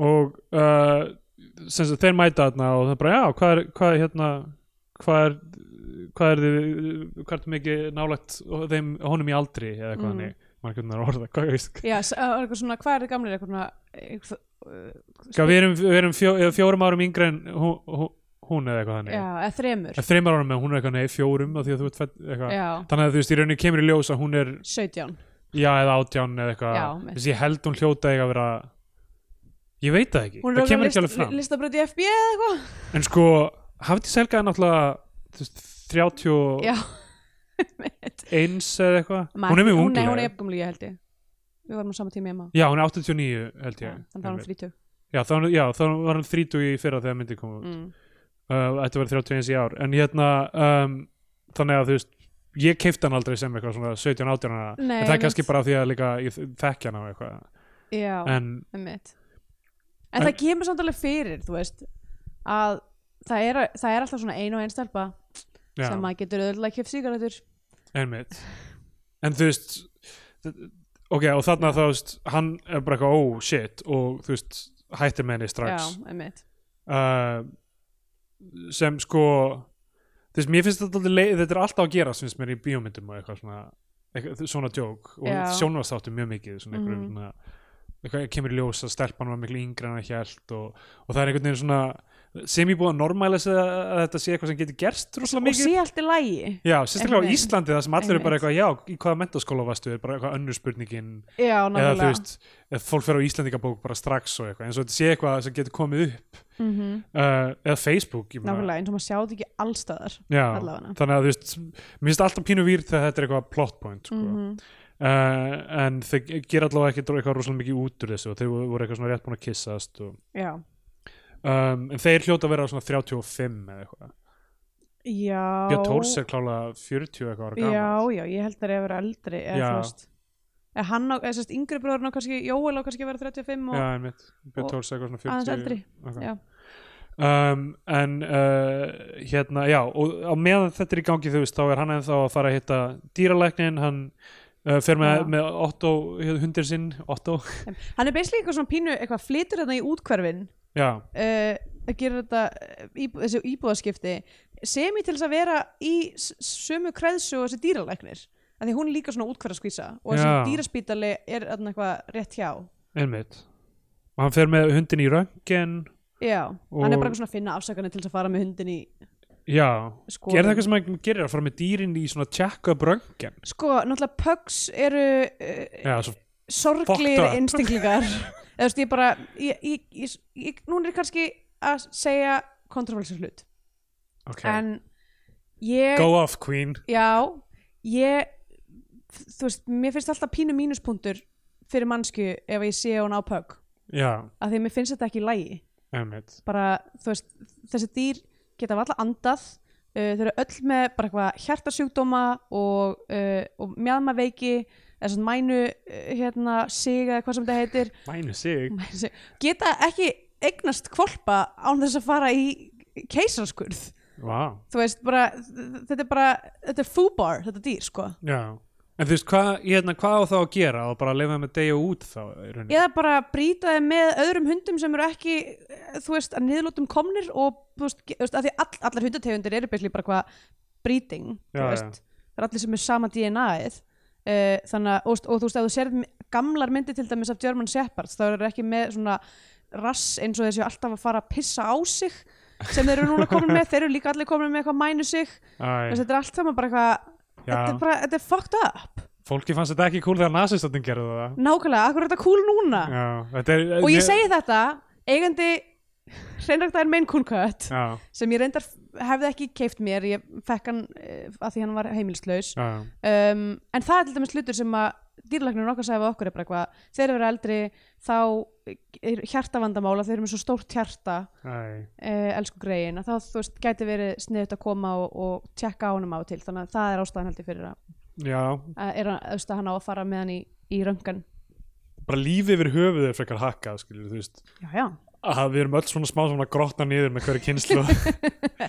S1: og uh, sem sagt, þeir mæta þarna og það er bara, já, hvað er, hvað er hérna hvað er hvað er þið, hvað er þið mikið nálægt þeim, honum í aldri eða
S2: Mm.
S1: eitthvað mm. maður hvernig er að orða, hvað veist
S2: Já, s- það var eitthvað svona, hvað er þið gamlir eitthvað svona, eitthvað,
S1: Ska, við erum, við erum fjó, eða fjórum árum yngri en hún, hún- hún eða eitthvað þannig
S2: já, eða þremur
S1: En þreymar árum með hún er eitthvað nei, fjórum af því að þú ert fætt eitthvað
S2: Já,
S1: Þannig að þú veist, í rauninni kemur í ljós að hún er
S2: 17
S1: já eða átján eða eitthvað
S2: Já,
S1: Þú
S2: mitt.
S1: veist, ég held hún hljóta eiga að vera Ég veit það ekki,
S2: Hún
S1: það
S2: er
S1: kemur ekki alveg fram
S2: listabröð í FB eða eitthvað
S1: En sko, hafði selga er náttúrulega þú veist, 31
S2: Já, einmitt
S1: eða eitthvað Hún er mjög
S2: Nei, hún
S1: unglega
S2: er jafngumlega, held ég Við varum á sama tími heima
S1: Já, hún er 89 held ég
S2: Já, Þannig að hann
S1: einmitt.
S2: frítug
S1: Já, þá já, þá var hann 30 í fyrra þegar myndi koma út
S2: mm.
S1: uh, Þetta var 31 í ár En hérna, um, þannig að þú veist Ég keipti hann aldrei sem eitthvað svona 17-18 ára En
S2: Nei,
S1: það er
S2: einmitt.
S1: kannski bara af því að líka ég þekki hann á eitthvað
S2: Já,
S1: En
S2: einmitt En
S1: En-
S2: það kemur samt alveg fyrir, þú veist að það er, það er alltaf svona ein og ein stelpa
S1: já,
S2: sem maður getur öðrulega kjöf sígarætur
S1: einmitt En þú veist þ- Ok, og þarna þá, þú veist, hann er bara eitthvað Oh shit, og þú veist Hættir með henni
S2: Já,
S1: strax
S2: einmitt
S1: uh, Sem sko Þú veist, mér finnst þetta alltaf leið Þetta er alltaf að gera, finnst mér í bíómyndum og eitthvað svona eitthvað, svona djók og
S2: Já.
S1: sjónvastáttum mjög mikið svona einhverjum
S2: Mhm.
S1: svona eitthvað kemur í ljós að stelpan var miklu yngri en að hjælt og, og það er einhvern veginn svona sem ég búið að normalisa að þetta sé eitthvað sem getur gerst rosalega
S2: Og
S1: mikið
S2: sé allt í lægi
S1: Já, sérstaklega á
S2: Einmitt.
S1: Íslandi það sem allir eru bara
S2: Einmitt.
S1: eitthvað, já, í hvaða mentaskóla varstu er bara eitthvað önnur spurningin
S2: Já,
S1: eða þú
S2: náttúrulega
S1: veist, eða fólk fer á Íslandingabók bara strax og eitthvað, eins og þetta sé eitthvað sem getur komið upp,
S2: mm
S1: uh, eða Facebook ég meina.
S2: Nákvæmlega, eins og maður sjá þetta ekki allstaðar
S1: Já,
S2: allavega.
S1: þannig að þú veist mér finnst alltaf pínu výr þegar þetta er eitthvað plot point sko.
S2: mm
S1: uh, en þau gera allavega ekki eitthvað rosalega mikið út úr þessu og þau voru eitthvað svona rétt búin að kyssast og,
S2: Já,
S1: um, en þeir hljóta að vera svona 35 eða eitthvað,
S2: já
S1: Björn Tórs er klálega 40 eitthvað ára gaman
S2: Já, já, ég held það er að vera eldri eða
S1: Já.
S2: þú veist eða hann á, eða sérst, yngri bróðurinn á kannski Jóel á kannski að vera 35 og
S1: Já, einmitt, Björn
S2: og
S1: Tórs er eitthvað svona 40
S2: aðeins eldri
S1: okay.
S2: Já.
S1: um, En uh, hérna, já og á meðan þetta er í gangi þú veist þá er hann ennþá að fara að hitta dýralæknin hann uh, fer með,
S2: Já.
S1: með Otto hundir sinn, Otto
S2: Hann er basically eitthvað svona pínu, eitthvað flytur þarna í útkverfin
S1: Já,
S2: uh, að gera þetta eh, íbú, þessi íbúðaskipti sem ég til þess að vera í s- sömu kreðsu og þessi dýralæknir af því hún er líka svona útkværa skvísa og þessi
S1: Já.
S2: dýraspítali er þarna eitthvað rétt hjá
S1: einmitt og hann fer með hundin í röngin
S2: já, hann
S1: Og-
S2: er bara eitthvað svona að finna afsakanir til þess að fara með hundin í
S1: Já,
S2: sko
S1: er það eitthvað sem hann gerir að fara með dýrin í svona check-up röngin
S2: sko, náttúrulega pugs eru uh,
S1: Já, svo,
S2: sorglir
S1: Fucked up.
S2: einstaklingar eða þú veist, ég bara ég, ég, ég, ég, núna er ég kannski að segja kontroversið hlut
S1: ok,
S2: en ég
S1: go off queen
S2: Já, ég þú veist, mér finnst alltaf pínu mínuspunktur fyrir mannsku ef ég sé hún á pögg
S1: Já,
S2: af því að mér finnst þetta ekki í lægi
S1: einmitt
S2: bara, þú veist, þessi dýr geta alltaf andað uh, þau eru öll með bara eitthvað hjartasjúkdóma og, uh, og mjadmaveiki eða svona mænu uh, hérna, sig eða hvað sem þetta heitir
S1: Mænu sig
S2: Mænu sig. geta ekki eignast kvolpa án þess að fara í keisaraskurð
S1: Vá
S2: þú veist, bara, þetta er bara þetta er fúbar, þetta dýr, sko
S1: Já, en þú veist, hvað hérna, hva á þá að gera og bara leifa með degja út þá í rauninni?
S2: eða bara brýta þeim með öðrum hundum sem eru ekki, eh, þú veist, að niðurlótum komnir og, þú veist, ge- þú veist að því all, allar hundategundir eru byrli bara hvað brýting,
S1: Já,
S2: þú veist, það er allir sem er sama DNA-ið Uh, þannig að, og, og þú veist, ef þú sérð mi- gamlar myndi til dæmis af German Shepherds þá eru þeir ekki með svona rass eins og þessi alltaf að fara að pissa á sig sem þeir eru núna komin með, þeir eru líka allir komin með eitthvað mænu sig,
S1: Æ,
S2: þess að þetta er allt saman bara eitthvað, þetta er
S1: já,
S2: bara, þetta er fucked up
S1: fólki fannst þetta ekki cool þegar nazistatinn gerðu það
S2: nákvæmlega, akkur er þetta cool núna
S1: já, þetta er,
S2: og ég segi þetta, eigandi hreinræktaðar main cool cut
S1: já,
S2: sem ég reyndar hefði ekki keift mér, ég fekk hann uh, að því hann var heimilislaus
S1: já,
S2: um, en það er til dæmis hlutur sem að dýrlæknirinn okkar sagði við okkur er bara eitthvað þegar við erum eldri þá er hjartavandamála, þeir eru með svo stórt hjarta
S1: æ,
S2: eh, elsku greiðin að þá þú veist, gæti verið sniðut að koma og, og tjekka á honum á og til þannig að það er ástæðan heldur fyrir að,
S1: já
S2: að, er að, þú veist, að hann á að fara með hann í, í röngan
S1: bara lífið yfir höfuðið er frekar hakkað skilur, þú veist,
S2: já, já,
S1: að við erum öll svona smá svona grotna niður með hverju kynslu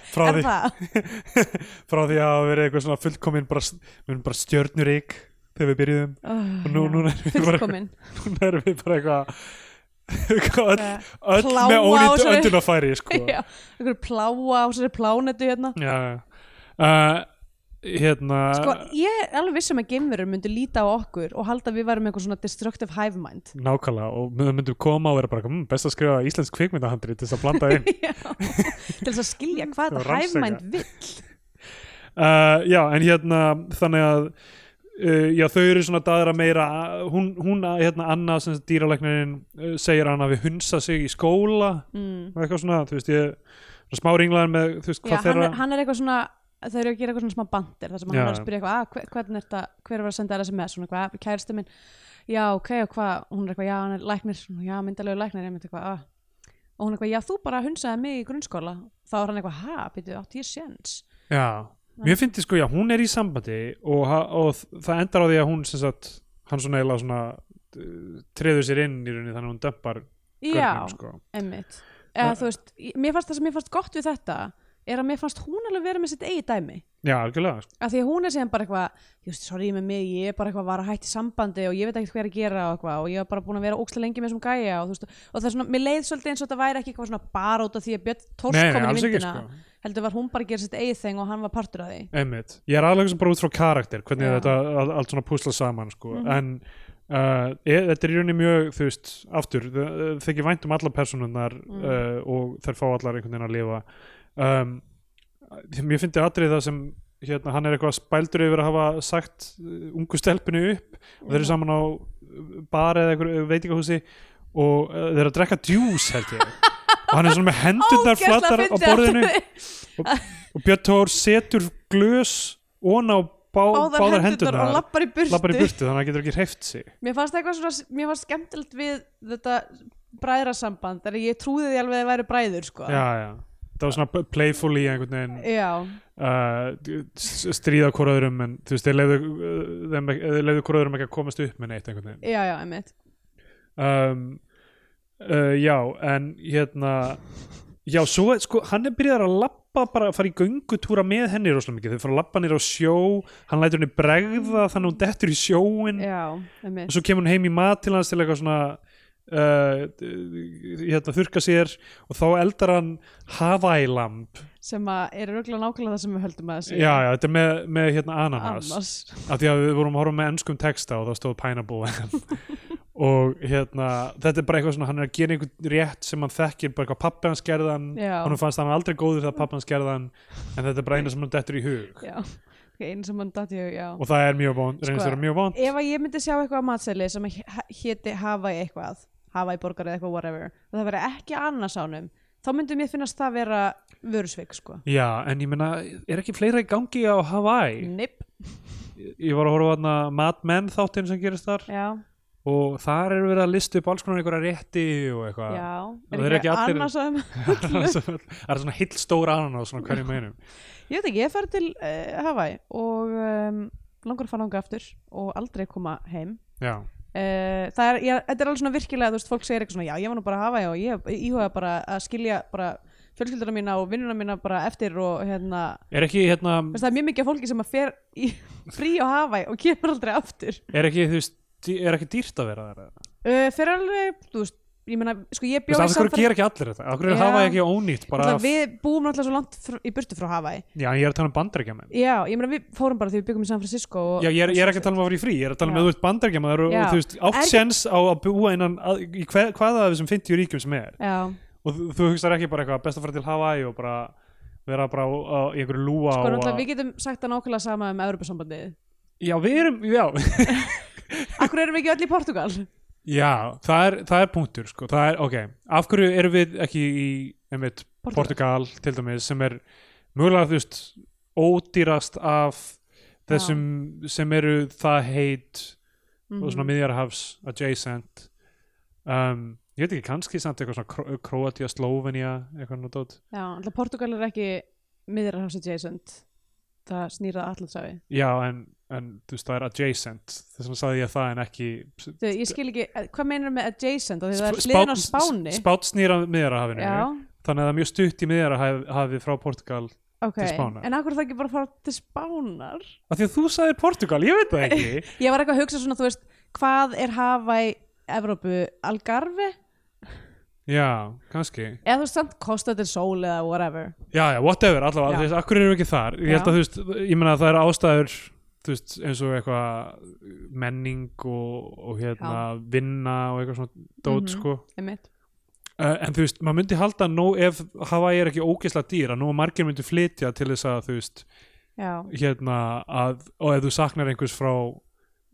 S1: frá,
S2: er
S1: því,
S2: það
S1: frá því að hafa verið eitthvað svona fullkomin bara, við erum bara stjörnurík þegar við byrjuðum
S2: oh,
S1: og nú, núna erum við bara,
S2: fullkomin
S1: núna erum við bara eitthvað eitthvað öll,
S2: Eh,
S1: öll
S2: plága
S1: með
S2: á
S1: ónýtt
S2: þessari-
S1: öndunafæri sko.
S2: já, einhverju pláa á sér plánetu hérna
S1: já, já. Uh, hérna
S2: sko, ég er alveg vissum að geimverur myndi líta á okkur og halda að við varum eitthvað svona destructive hive mind
S1: nákvæmlega og við myndum koma og vera bara mmm, best að skrifa íslensk kvikmyndahandri til þess að blanda inn
S2: Já, til þess að skilja hvað
S1: Og
S2: þetta
S1: rannsaka.
S2: hæfmænd vill
S1: uh, já, en hérna þannig að uh, já, þau eru svona daðra meira hún, hún hérna, Anna, sem sagt, dýralæknirinn uh, segir hann að við hunsa sig í skóla
S2: mm.
S1: og eitthvað svona, þú veist, ég svona smá ringlaðan með, þú veist,
S2: Já,
S1: hvað
S2: hann,
S1: þeirra
S2: er- hann er eitthvað svona þau eru að gera eitthvað svona smá bandir þar sem
S1: Já.
S2: hann er að spyrja eitthvað, að, hver, hvernig er þetta hver var að senda þér SMS, svona eitthvað, kæristi minn já, ok, og hvað, hún er eitthvað, já, hann er læknir svona, já, myndalegu læknir, einmitt eitthvað ah. og hún er eitthvað, já, þú bara hunsaði mig í grunnskóla þá er hann eitthvað, ha, byrju, átti ég séns
S1: já, mér finnst ég sko, já, hún er í sambandi og, ha- og þ- það endar á því að hún sem sagt, hann svona eiginlega svona uh, treður sér inn í rauninni þannig að hún dömpar
S2: já,
S1: sko.
S2: einmitt eða
S1: Það-
S2: þú veist, ég- mér fannst það sem mér fannst gott við þetta er að mér fannst hún alveg vera með sitt eigi dæmi
S1: já, algjörlega, sko.
S2: að því að hún er síðan bara eitthvað just, sorry með mig, ég er bara eitthvað var að hætti sambandi og ég veit ekkert hvað er að gera og eitthvað og ég var bara búin að vera ókslega lengi með þessum gæja og, þú veist, og það er svona, mér leið svolítið eins og þetta væri ekki eitthvað svona bara út af því að Björn Tors
S1: nei, nei,
S2: komin í
S1: alls ekki,
S2: myndina
S1: sko
S2: heldur var hún bara að gera sitt eigið þeng og hann var partur af því
S1: Einmitt. Ég er aðlega sem bara út frá karakter hvernig
S2: Já.
S1: þetta all- allt svona púsla saman sko.
S2: Mhm.
S1: en uh, e, þetta er í rauninni mjög þú veist, aftur, þ- þykir vænt um allar personunar
S2: Mm.
S1: uh, og þær fá allar einhvern veginn að lifa um, Mér finnst þér atrið það sem hérna, hann er eitthvað spældur yfir að hafa sagt uh, ungu stelpinu upp og þeir eru
S2: Mhm.
S1: saman á uh, bar eða einhver veitingahúsi og uh, þeir eru að drekka djús held ég og hann er svona með hendurnar
S2: Ógeðslega
S1: flattar á
S2: fyndið
S1: borðinu
S2: að-
S1: og Björn Tór setur glös on á bá,
S2: báðar,
S1: báðar
S2: hendurnar
S1: hendurnar
S2: og lappar í burtu,
S1: lappar í burtu þannig að hann getur ekki hreift sig
S2: mér fannst eitthvað svona mér fannst skemmtilegt við þetta bræðrasamband, þannig að ég trúði því alveg að það væri bræður sko.
S1: já, já. það var svona playfully einhvern veginn
S2: Já.
S1: uh, s- stríða hvoraðurum en þú veist, þeir leiðu, uh, þeim ekki- þeir leiðu hvoraðurum ekki að komast upp með neitt einhvern veginn
S2: já, já, einmitt
S1: um, uh, já, en hérna já, svo er, sko, hann er byrjaður að lappa bara að fara í göngutúra með henni rosalega mikið, þau fara að lappa nýr á sjó hann lætur henni bregða þannig að hún dettur í sjóin
S2: já,
S1: og
S2: einmitt
S1: svo kemur hún heim í mat til hans til eitthvað svona uh, hérna, þurka sér og þá eldar hann Hawaii-lamp
S2: sem að er örgulega nákvæmlega það sem við höldum að það
S1: já, já, þetta er með, með hérna, ananas
S2: annars
S1: af því að við vorum að horfa með ennskum texta og þá stóð pineapple og hérna, þetta er bara eitthvað svona hann er að gera einhvern rétt sem hann þekkir bara eitthvað pappi hans gerðan
S2: Já.
S1: hann fannst hann aldrei góður þegar pappi hans gerðan en þetta er bara eina sem hann dettur í hug
S2: já, Ok, einu sem mann datt ég já.
S1: og það er mjög vond, reynist
S2: Sko,
S1: vera mjög vond
S2: ef að ég myndi sjá eitthvað á matseli sem að hé- héti Hawaii eitthvað Hawaii borgar eða eitthvað whatever og það veri ekki annars ánum þá myndi mér finnast það vera vörusvik sko
S1: já, en ég meina, er ekki fleira í gangi á Hawaii?
S2: Nip,
S1: ég var að horfa þarna Mad Men þáttinn sem gerist þar
S2: já,
S1: og þar er verið að lista upp alls konar einhverja rétti og eitthvað
S2: já
S1: Og þeir eru ekki allir-
S2: annars ánum
S1: það er svo- það er svona heill stóra ananas svona hverju meinum
S2: Ég veit ekki, ég fer til uh, Hawaii og um, langar að fara langa aftur og aldrei koma heim
S1: já,
S2: Uh, það er, ég, þetta er alveg svona virkilega þú veist, fólk segir eitthvað svona, já ég var nú bara að hafa og ég íhuga bara að skilja bara fjölskylduna mína og vinnuna mína bara eftir og hérna,
S1: er ekki hérna
S2: þú veist, það er mjög mikið af fólki sem að fer í frí á hafa og kemur aldrei aftur
S1: er ekki þú veist, dý- er ekki dýrt að vera þar eða?
S2: uh, fer alveg, þú veist ég meina, sko ég
S1: Þú veist,
S2: bjóði
S1: af hverju gera ekki allir þetta? Af hverju
S2: Já.
S1: hafa ekki ónýtt bara af...
S2: við búum alltaf svo langt fr- í burtu frá Hawaii
S1: Já, en ég er að tala um bandaríkjaman
S2: já, ég meina við fórum bara þegar við byggum í San Francisco og,
S1: Já, ég er, ég er ekki að tala um að vera í frí, ég er að tala um
S2: Já.
S1: að þú ert bandaríkjaman og
S2: Já.
S1: þú veist, átt
S2: Er-
S1: sens á að búa innan að, í hver, hvaða af þessum 50 ríkjum sem er
S2: já,
S1: og þú, þú hugsar ekki bara eitthvað best að fara til Hawaii og bara vera bara á, á, í einhverju lúa
S2: sko
S1: og
S2: náttúrulega
S1: að-
S2: við getum sagt það nákvæmlega sama um Evropasambandið
S1: Já, við erum, já
S2: Akkur erum við ekki öll í Portugal?
S1: Já, það er, það er punktur, sko það er, ok, af hverju erum við ekki í, einmitt, Portugal, til dæmis, sem er mjögulega, þú veist, ódýrast af þessum sem eru það heit
S2: Mhm.
S1: og svona miðjarhafs adjacent um, ég veit ekki kannski samt eitthvað svona Kró- Króatía, Slóvenía eitthvað náttúrulega
S2: Já, alltaf Portugal er ekki miðrarhás adjacent það snýrað allatsafi
S1: já en, en þú veist það er adjacent þess vegna sagði ég það en ekki
S2: Ég skil ekki, eh, hvað meinar með adjacent? Af því Það er
S1: Sp-
S2: hliðin á
S1: Spánn-
S2: Spáni
S1: Spánn snýr að miðjarhafinu
S2: Já,
S1: þannig að það er mjög stutt í miðjarhafi frá Portugal
S2: ok
S1: til Spánar.
S2: En akkur það ekki bara að fara til Spánar?
S1: af því að þú sagðir Portugal, ég veit það ekki
S2: Ég var eitthvað að hugsa svona, þú veist hvað er Hawaii, Evrópu Algarve?
S1: já, kannski
S2: Eða þú veist samt Costa del Sol eða whatever
S1: já, já, whatever, allavega,
S2: Já.
S1: þú veist, akkur erum við ekki þar ég held
S2: Já.
S1: að, þú veist, ég meina að það er ástæður þú veist, eins og eitthvað menning og, og hérna vinna og eitthvað svona dót,
S2: Mhm.
S1: sko
S2: einmitt.
S1: Uh, en þú veist, maður myndi halda nú ef Hawaii er ekki ógeðslega dýra, nú margir myndi flytja til þess að þú veist,
S2: Já,
S1: hérna að, og ef þú saknar einhvers frá,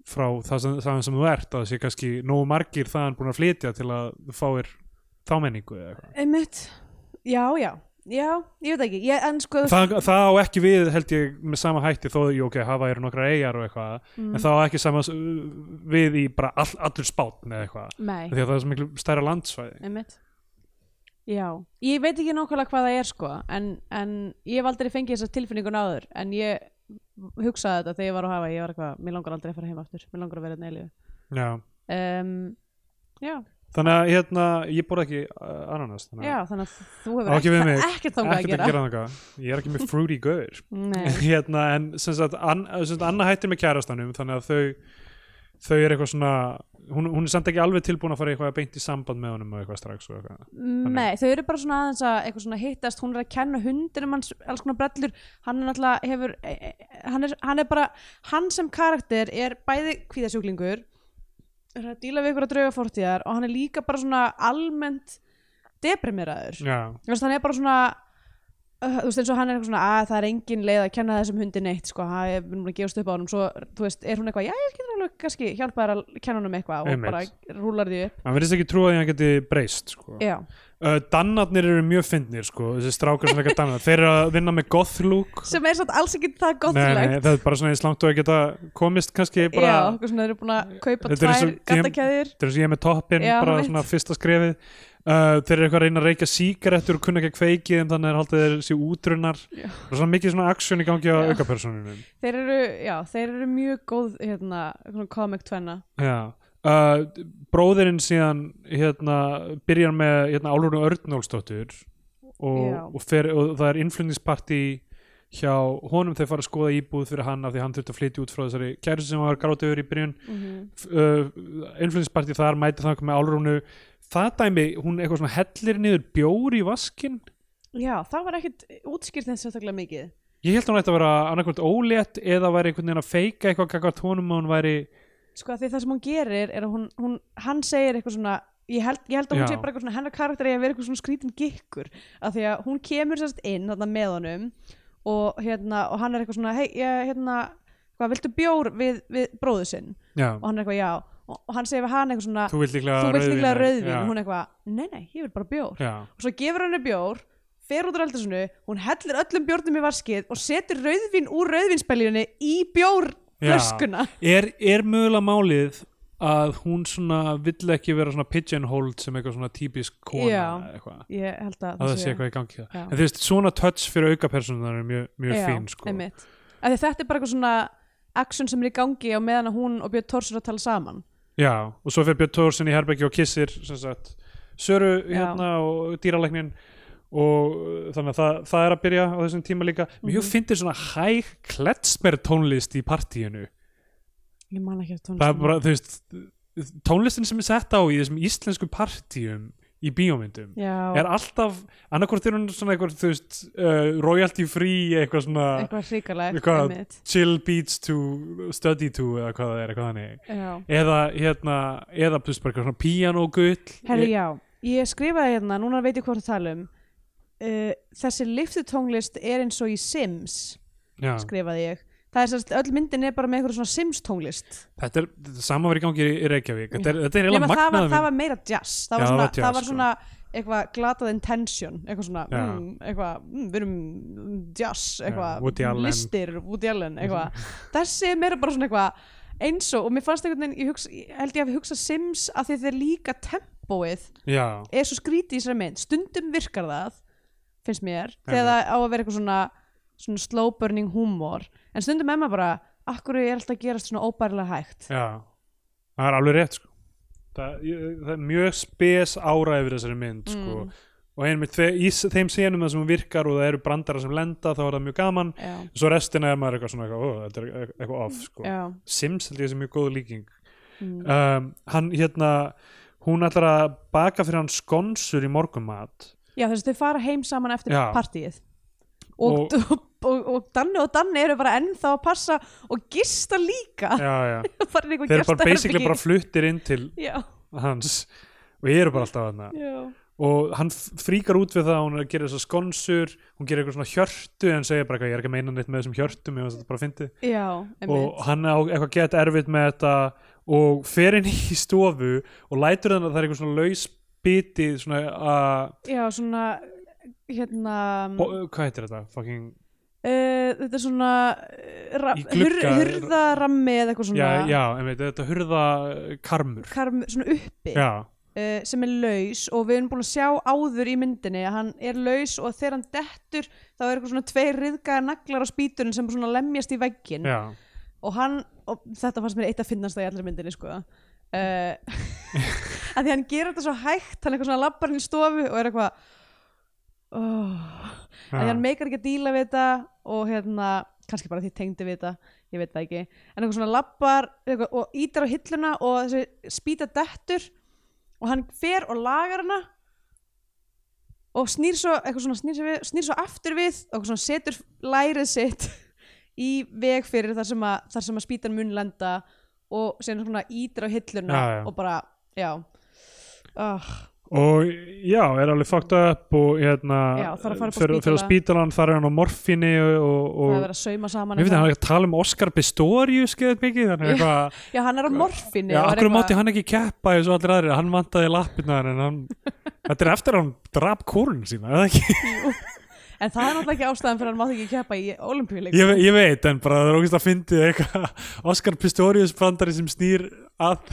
S1: frá það sem, það sem þú ert, að það sé kannski nógu margir þaðan búin að flytja til að þú fáir þá menningu eða eitthvað.
S2: einmitt Já, já, já, ég veit ekki ég, En sko,
S1: Það, það á ekki við held ég með sama hætti þó, jú, ok, Hawaii eru nokkra eigar og eitthvað,
S2: Mm.
S1: en það á ekki sama s- við í bara all, allur spátn eða eitthvað,
S2: nei
S1: því að það er svo miklu stærra landsvæði.
S2: Einmitt. Já, ég veit ekki nákvæmlega hvað það er sko, en, en ég hef aldrei fengið þessa tilfinningun áður, en ég hugsaði þetta þegar ég var að hafa, ég var eitthvað, mér langar aldrei að fara heim aftur, mér langar að vera neilíu.
S1: Já.
S2: Um, já,
S1: Þannig að hérna, ég borða ekki uh, ananas, þannig að
S2: já, þannig að þú hefur
S1: Á, ekki við
S2: það
S1: mig.
S2: er ekkert þangað að
S1: ekkert
S2: gera.
S1: að gera þangað ég er ekki með fruity gaur
S2: Nei,
S1: hérna, en sem sagt, an, sem sagt Anna hættir með kærastanum þannig að þau þau er eitthvað svona hún, hún er samt ekki alveg tilbúin að fara í eitthvað beint í samband með honum og eitthvað strax og eitthvað.
S2: nei, þau eru bara svona aðeins að eitthvað svona hittast, hún er að kenna hundinum hans alls konar brellur, hann er náttúrulega hefur, e- e- hann er, hann er bara, hann sem karakter er bæði kvíðasjúklingur er að díla við ykkur að drauga fórtíðar og hann er líka bara svona almennt deprimeraður
S1: já,
S2: þú veist hann er bara svona uh, þú veist eins og hann er eitthvað svona að það er engin leið að kenna þessum hundi neitt sko, hann er búin að gefast upp á honum svo þú veist er hún eitthvað, já ég getur alveg kannski hjálpa þér að kenna honum eitthvað og
S1: Einmitt.
S2: bara rúlar því upp
S1: hann verðist ekki trúa því að hann geti breyst sko.
S2: já,
S1: uh, dannarnir eru mjög fyndnir sko, þessi strákar sem leika dannar þeir eru að vinna með goth look
S2: sem er satt alls ekki
S1: Nei,
S2: það
S1: nei,
S2: gottlegt
S1: það er bara svona eins langt og að geta komist kannski bara,
S2: já, okkur svona þeir eru búin að
S1: Þetta
S2: kaupa
S1: er
S2: tvær
S1: eins og- ég-
S2: gattakæðir
S1: þegar ég er með toppin
S2: Já,
S1: bara
S2: einmitt.
S1: svona fyrsta skrefið uh, þeir eru eitthvað að reyna að reykja sígarettur og kunna ekki að kveiki þeim þannig að haldið þeir sér útrunnar
S2: Já.
S1: og svona mikið svona aksjón í gangi á
S2: Já.
S1: aukapersonunum
S2: þeir eru, já, þeir eru mjög góð hérna, svona comic tvenna
S1: Já. uh, bróðirinn síðan hérna, byrjar með hérna, Álurinn Örnólsdóttur
S2: Já.
S1: og, og, fer, og það er innflutningsparti hjá honum þeir fara að skoða íbúð fyrir hann af því hann þurfti að flytja út frá þessari kæru sem hann var grátið yfir í byrjun
S2: mm -hmm.
S1: uh, influensparti þar mæti þannig með álrúnu það dæmi, hún eitthvað svona hellir niður bjór í vaskin
S2: já, það var ekkit útskýrt þess að mikið
S1: ég held að hún ætti að vera annarkvöld ólétt eða væri einhvern veginn að feika eitthvað kakvart honum og hún væri,
S2: sko af því það sem hún gerir er að hún, hún hann segir eitthvað svona ég held, ég held að hún
S1: Já.
S2: sé bara eitthvað svona hennar karakter er að vera eitthvað svona skrítin gikkur af því að hún kemur sérst inn þarna með honum og hérna og hann er eitthvað svona hei, ég, hérna, hvað, viltu bjór við, við bróðu sinn
S1: já,
S2: og hann er eitthvað já og, og hann segir við hann eitthvað svona
S1: þú vilt líklega
S2: þú vilt
S1: rauðvín,
S2: líklega rauðvin
S1: já,
S2: og hún er eitthvað, nei nei, ég vil bara bjór
S1: já,
S2: og svo gefur hann henni bjór fer út úr eldasunu, hún hellir öllum bjórnum í vaskið og setur rauðvin úr rauðvinspeljunni í bjórflöskuna
S1: er, er mögulega málið að hún svona vill ekki vera svona pigeonholed sem eitthvað svona típisk kona
S2: Já.
S1: eða eitthvað
S2: ég held að,
S1: að það sé eitthvað í gangi það
S2: Já.
S1: en þú veist, svona touch fyrir aukapersonunar er mjög, mjög fín sko
S2: einmitt. Af því þetta er bara eitthvað svona action sem er í gangi á meðan að hún og Björn Tórs eru að tala saman
S1: Já, og svo fer Björn Tórsson í herbergi og kissir sem sagt, Söru hérna og dýralæknin og uh, þannig að það, það er að byrja á þessum tíma líka mjög
S2: Mhm.
S1: mm. fyndir svona hæg kletsmer tónlist í partíinu
S2: Mhm. ég man ekki eftir
S1: það er
S2: tónlistinni.
S1: bara, þú veist tónlistin sem er sett á í þessum íslensku partíum í bíómyndum
S2: Já,
S1: er alltaf, annarkvort er hún svona eitthvað, þú veist, uh, royalty free eitthvað svona
S2: eitthvað hrikalegt
S1: eitthvað-
S2: einmitt.
S1: chill beats to study to eða hvað það er, eitthvað þannig
S2: Já.
S1: eða hérna, eða pluss bara eitthvað svona píanógull
S2: Herri, já, ég skrifaði hérna, núna veit ég hvort að tala um uh, þessi liftutónglist er eins og í Sims
S1: já,
S2: skrifaði ég það er sérst, öll myndin er bara með eitthvað svona Sims tónglist
S1: þetta er þetta sama var í gangi í Reykjavík þetta er, þetta er
S2: nema
S1: eiginlega
S2: það var,
S1: magnað um-
S2: það var meira jazz það
S1: Já,
S2: var
S1: það var
S2: svona,
S1: jazz, sko.
S2: það var svona eitthvað glatað intention eitthvað svona,
S1: Já.
S2: mm, eitthvað, mm, við erum mm, jazz,
S1: Já, Woody
S2: eitthvað
S1: Allen.
S2: listir, Woody Allen eitthvað, þessi er meira bara svona eitthvað eins og, og mér fannst einhvern veginn ég hugsa, ég held ég að hugsa Sims að því þeir líka tempóið
S1: já,
S2: er svo skrítið í þessari mynd stundum virkar það, finnst mér þegar það á að vera eitthvað svona, svona slow burning humor en stundum er maður bara, akkur er alltaf að gerast svona óbærilega hægt
S1: já það er alveg rétt sko það, ég, það er mjög spes ára yfir þessari mynd sko
S2: Mm.
S1: og einmitt þe í s- þeim senum það sem hún virkar og það eru brandara sem lenda þá er það mjög gaman
S2: já,
S1: svo restina er maður eitthvað svona eitthvað, ó, þetta er e- eitthvað off sko
S2: já,
S1: Sims held ég sem mjög góð líking
S2: Mm.
S1: um, hann hérna hún ætlar að baka fyrir hann skonsur í morgumat
S2: já þess að þau fara heim saman eftir
S1: Já.
S2: partíið og, og, og, og Danni og Danni eru bara ennþá að passa og gista líka
S1: já, já.
S2: þeir eru
S1: þeir eru bara basically bara fluttir inn til
S2: já,
S1: hans og ég eru bara alltaf hann
S2: já,
S1: og hann f- fríkar út við það að hún er að gera þessar skonsur hún gerir eitthvað svona hjörtu en segir bara eitthvað, ég er ekki að meina neitt með þessum hjörtum ég veist þetta bara fyndi
S2: já
S1: og
S2: einmitt.
S1: hann á eitthvað gett erfitt með þetta og fer inn í stofu og lætur þannig að það er eitthvað svona laus biti svona að
S2: já, svona hérna
S1: bo- hvað heitir þetta? Fucking,
S2: Uh, þetta er svona uh, ra-
S1: Í
S2: hur,
S1: glugga-
S2: hurðarammi eða
S1: já,
S2: eitthvað svona,
S1: já, en veit, þetta hurða karmur
S2: Karm, svona uppi uh,
S1: já,
S2: sem er laus og við erum búin að sjá áður í myndinni að hann er laus og þegar hann dettur þá er eitthvað svona tveir riðgaðar naglar á spýtunum sem svona lemjast í veggin
S1: já,
S2: og hann, og þetta fannst mér eitt að finnast það í allri myndinni sko uh, að því hann gerir þetta svo hægt hann er eitthvað svona labbar hann í stofu og er eitthvað oh, að því
S1: já.
S2: hann meikar ekki að díla við þetta og hérna, kannski bara því tengdi við þetta ég veit það ekki, en eitthvað svona lappar eitthvað, og ítir á hilluna og þessi spýta dettur og hann fer og lagar hana og snýr svo, eitthvað svona snýr, svo við, snýr svo aftur við og eitthvað svona setur lærið sitt í veg fyrir þar sem að, þar sem að spýtan mun lenda og síðan svona ítir á hilluna
S1: Já, já.
S2: og bara, já oh,
S1: og já, er alveg fucked up og hérna
S2: Já, þarf að fara upp á
S1: fyrir, fyrir
S2: spítala.
S1: spítalan þar er hann á morfinni og,
S2: það er
S1: og
S2: verið að sauma saman
S1: Mér finnst að
S2: eitthvað.
S1: hann er að tala um Oscar Pistorius skeðið mikið, þannig eitthvað
S2: já, hann er á morfinni
S1: Já,
S2: og er
S1: akkur
S2: eitthvað-
S1: mátti hann ekki keppa eins og allir aðrir, hann vantaði lappirnar en hann, þetta er eftir að hann drap kúrun sína, eða ekki?
S2: En það er náttúrulega ekki ástæðan fyrir að hann mátt ekki keppa í olimpíuleikum.
S1: Ég, ve- ég veit, en bara það er ógæst að fyndið eitthvað Oscar Pistorius brandari sem snýr að,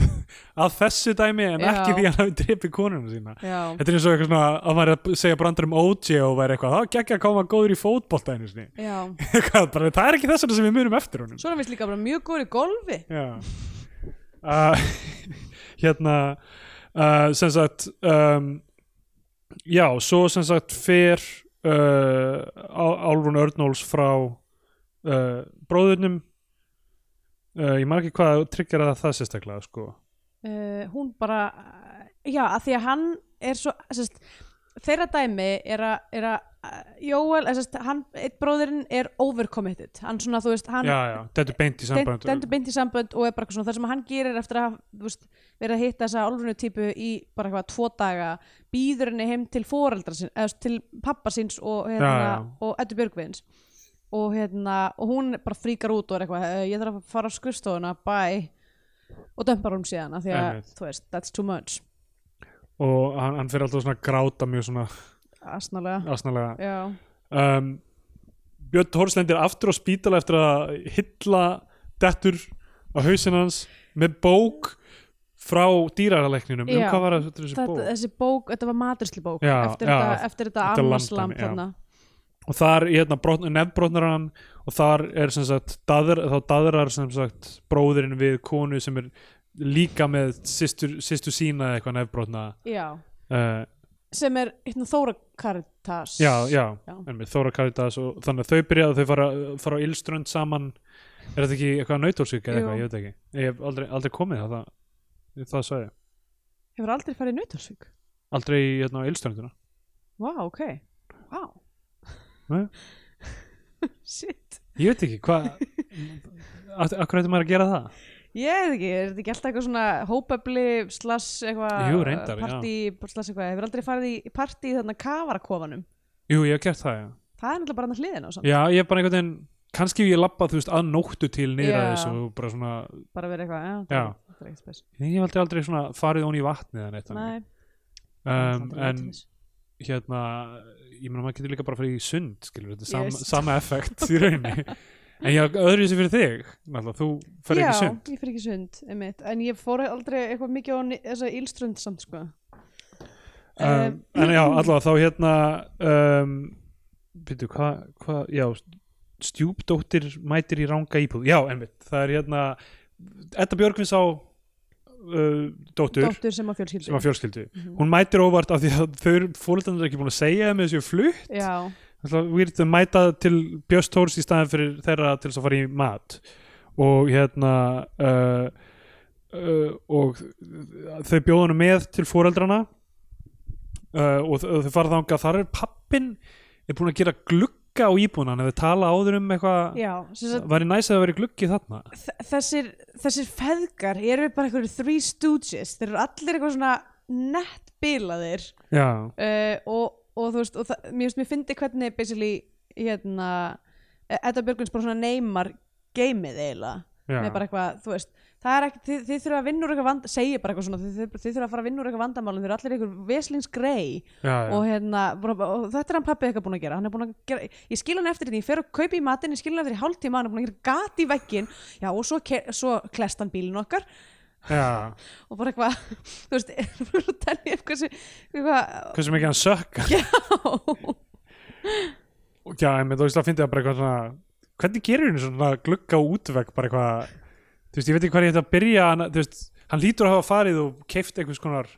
S1: að þessu dæmi en
S2: Já.
S1: ekki því að hann hafi drepið konunum sína
S2: Já,
S1: Þetta er eins og eitthvað svona að maður er að segja brandar um OJ og væri eitthvað, það geggja að koma góður í fótbolta einu sinni,
S2: já.
S1: eitthvað, bara það er ekki þess vegna sem við munum eftir honum
S2: Svo er hann vist líka bara mjög góður í golfi.
S1: Já uh, Hérna uh, sem sagt um, já, svo sem sagt fer uh, Á- Álfrún Örnóls frá uh, bróðurnum uh, ég man ekki hvað tryggir að það sérstaklega sko
S2: Uh, hún bara, já, að því að hann er svo, sérst, þeirra dæmi er að, er að eh, Jóel, eh, sérst, hann, eitt bróðurinn er overcommitted. Hann svona, þú veist, hann
S1: já, já, þetta er beint í
S2: dent-
S1: samband
S2: dendur beint í sambönd og er bara eitthvað svona, það sem hann gerir eftir að, hafa, þú veist, verið að hitta þessa álfrunu típu í bara eitthvað tvo daga, býður henni heim til foreldra sín, eða þú veist, til pappa síns og, hérna,
S1: Já, já.
S2: og Eddu Björgvins og hérna, og hún bara fríkar út og er eitthvað, "Eh, ég þarf að fara á skurstofuna, bye og dömpar hún síðan af því að,
S1: Einmitt.
S2: þú veist, that's too much
S1: og hann, hann fer alltaf svona að gráta mjög svona
S2: asnalega,
S1: asnalega
S2: já,
S1: um, Björn Tórsland er aftur á spítala eftir að hylla dettur á hausinn hans með bók frá dýraralekninum um
S2: Já.
S1: hvað var það þetta er þessi
S2: þetta,
S1: bók
S2: þessi bók, þetta var maturslu
S1: Já,
S2: eftir,
S1: já,
S2: þetta, eftir þetta
S1: þetta
S2: ammaslamb
S1: lambdæmi, já.
S2: þarna.
S1: og þar hérna, brotn, nefnbrotnar hann og þar er sem sagt daðr, þá daðrar sem sagt bróðirinn við konu sem er líka með sýstur sýstur sína eða eitthvað nefnbrotna
S2: já,
S1: uh,
S2: sem er hérna Þóra Karitas
S1: já, já,
S2: Já.
S1: en með Þóra Karitas og þannig að þau byrja að þau fara, fara á Ílströnd saman er þetta ekki eitthvað nautórsík eða
S2: Jú.
S1: eitthvað, ég veit ekki ég hef aldrei, aldrei komið það, það það sagði ég.
S2: Hefur aldrei farið í nautalsvík?
S1: Aldrei í hérna á eilströndina.
S2: Vá, ok. Vá.
S1: Nei.
S2: Shit.
S1: Ég veit ekki, hvað, akkur ætti maður að gera það?
S2: Ég veit ekki, er þetta ekki alltaf eitthvað svona hópefli slass eitthvað
S1: Jú, reyndar, já.
S2: partí, slass eitthvað, hefur aldrei farið í partí í þarna kavarakofanum
S1: Jú, ég hef gert það, já.
S2: Það er náttúrulega bara hann hliðin á samt
S1: Já, ég er bara einhvern veginn, kannski ef ég labbað, þú veist, að nóttu til niður að
S2: Já.
S1: þessu og bara svona,
S2: bara verið eitthvað, já,
S1: Já.
S2: það er ekkert spes
S1: ég hef aldrei, aldrei svona farið ón í vatni eða neitt. þannig.
S2: Nei,
S1: um,
S2: það er
S1: en
S2: aldrei svoleiðis.
S1: hérna, ég meina, maður getur líka bara farið í sund, skilur, þetta er sama,
S2: Yes.
S1: sama effekt í rauninni. En já, öðru fyrir þig, náttúrulega, þú ferð ekki í sund.
S2: Já, ég fer ekki í sund, einmitt En ég fór aldrei eitthvað mikið á ni- þessa ílströnd samt, sko eh,
S1: um, en já, allavega þá hérna um, byrju, hvað hva, já, stjúpdóttir mætir í ranga íbúð, já, einmitt það er hérna, Edda Björgvins á uh, dóttur
S2: Dóttur sem á fjölskyldu
S1: sem að fjölskyldu,
S2: Mhm.
S1: hún mætir óvart af því að þau fóreldarnir er ekki búin að segja þeim með þessu flutt,
S2: Já,
S1: við erum að mæta til Björst Tórs í staðin fyrir þeirra til þess að fara í mat og hérna uh, uh, og þau bjóðanum með til foreldrana uh, og þau- þau fara þangað þar er pappin er búin að gera glugga á íbúna hann hefur tala áður um eitthvað
S2: já, sem sagt
S1: væri næs að það væri gluggi þarna
S2: þ- þessir, þessir feðgar eru bara eitthvað three stooges, þeir eru allir eitthvað svona nett bilaðir
S1: já,
S2: uh, og, og þú veist og það, mér, veist, mér fyndi hvernig basically hérna, Edda Björgvins bara svona neymar geimið eiginlega
S1: já,
S2: með bara eitthvað, þú veist það er ekki, þið, þið þurfa að vinna úr eitthvað vanda segir bara eitthvað svona, þið, þið, þið þurfa að fara að vinna úr eitthvað vandamálum þið eru allir eitthvað veslings grei
S1: já, já.
S2: og, hérna, bara- og þetta er hann pappið eitthvað búin að gera hann er búin að gera, ég skil hann eftir því ég fer og kaupi í matinn, ég skil hann eftir í hálftíma hann er búin að gera gat í veggin, já og svo, ke- svo klest hann bílinn okkar
S1: já.
S2: og bara eitthvað, þú veist er búin að telja upp hversu eitthvað,
S1: hversu mikið hann sökka já, en þú veist að fyndi það bara eitthvað svona hvernig gerir hún svona glugga á útvegg bara eitthvað, þú veist, ég veit ekki hvað ég ætti að byrja hann, þú veist, hann lítur að hafa farið og keift einhvers konar,